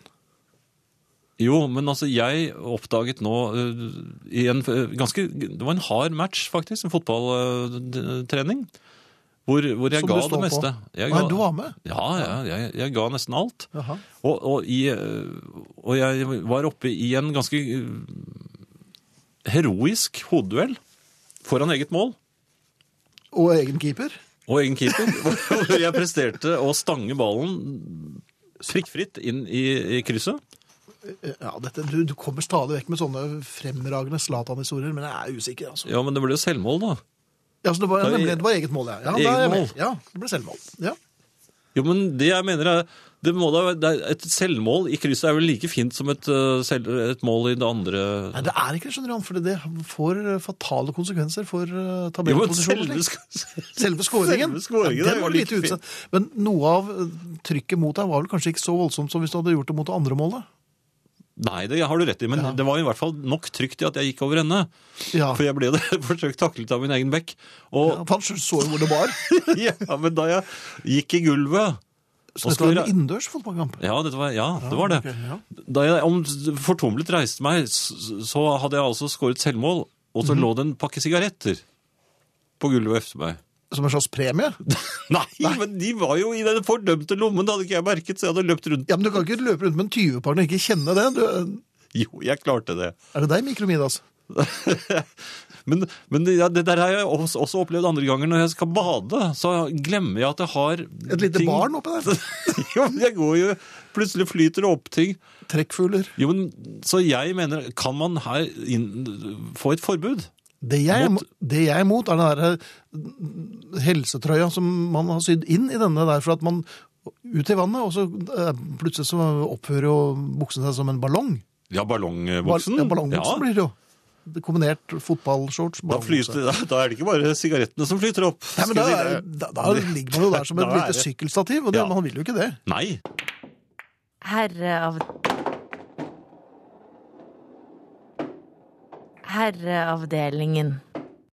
B: Jo, men altså, jeg oppdaget nå øh, i en øh, ganske Det var en hard match, faktisk. En fotballtrening. Hvor, hvor jeg
A: Som
B: ga
A: du står
B: det meste.
A: på.
B: Jeg
A: Nei,
B: ga-
A: du var med?
B: Ja, ja jeg, jeg ga nesten alt.
A: Jaha.
B: Og, og, i, øh, og jeg var oppe i en ganske øh, heroisk hodeduell foran eget mål.
A: Og egen keeper.
B: Og egen keeper. Hvor jeg presterte å stange ballen prikkfritt inn i, i krysset.
A: Ja, dette, du, du kommer stadig vekk med sånne fremragende Zlatan-historier, men jeg er usikker, altså.
B: Ja, men det ble jo selvmål, da.
A: Ja, så det var,
B: Ja,
A: nemlig,
B: i-
A: det var eget mål, ja. Ja,
B: Eget
A: da er jeg
B: mål.
A: med. ja det ble selvmål. Ja.
B: Jo, men det jeg mener er, det må da, være- det er et selvmål i krysset er vel like fint som et, øh, selv, et mål i det andre
A: Nei, det er ikke det, skjønner du, Jan, for det får fatale konsekvenser for eh,
B: Jo, men
A: tabellposisjonen.
B: selve,
A: slik.
B: sk-
A: Selve skåringen.
B: Selve skåringen,
A: Ja,
B: det
A: den
B: var
A: var litt
B: litt
A: utsatt. Men noe av eh, trykket mot deg var vel kanskje ikke så voldsomt som hvis du hadde gjort det mot det andre målet?
B: Nei, det har du rett i, men det var i hvert fall nok trygt i at jeg gikk over ende.
A: Ja.
B: For jeg ble jo forsøkt taklet av min egen bekk.
A: Ja,
B: Og,
A: Han så jo hvor det var.
B: ja. men da jeg gikk i gulvet
A: Så
B: Og
A: dette var
B: skal-
A: en innendørs fotballkamp.
B: Ja, dette var, ja det var det.
A: ok, ja.
B: Da jeg om, fortumlet reiste meg, s- så hadde jeg altså skåret selvmål, og så lå det en pakke sigaretter på gulvet efter meg.
A: Som en slags premie.
B: Nei, men de var jo i den fordømte lommen, det hadde ikke jeg merket, så jeg hadde løpt rundt.
A: Ja, men Du kan ikke løpe rundt med en 20-pakke og ikke kjenne det. Du, eh,
B: Jo, jeg klarte det.
A: er det deg, Mikromidas?
B: Men, men ja, det der har jeg også også opplevd andre ganger når jeg skal bade, så glemmer jeg at jeg har
A: Et lite
B: ting-
A: barn oppi der?
B: jo, men jeg går jo, plutselig flyter det opp ting.
A: Trekkfugler.
B: Jo, men, så jeg mener, kan man her inn, få et forbud?
A: Det jeg, er
B: Mot-
A: imot- det jeg er imot, er den der eh, helsetrøya som man har sydd inn i denne der, for at man ut i vannet, og så eh, plutselig så opphører jo buksen seg som en ballong.
B: Ja,
A: Ball-
B: ballongbuksen.
A: Ja, ballongbuksen blir det jo. Det Kombinert fotballshorts,
B: Da, flyter, da, da er det ikke bare sigarettene som flyter opp.
A: Nei, men da,
B: skal jeg si det.
A: da, da ligger man jo der som et
B: Da er
A: lite
B: det-
A: sykkelstativ, og det,
B: Ja.
A: man vil jo ikke det.
B: Nei.
F: Herreav... Herreavdelingen.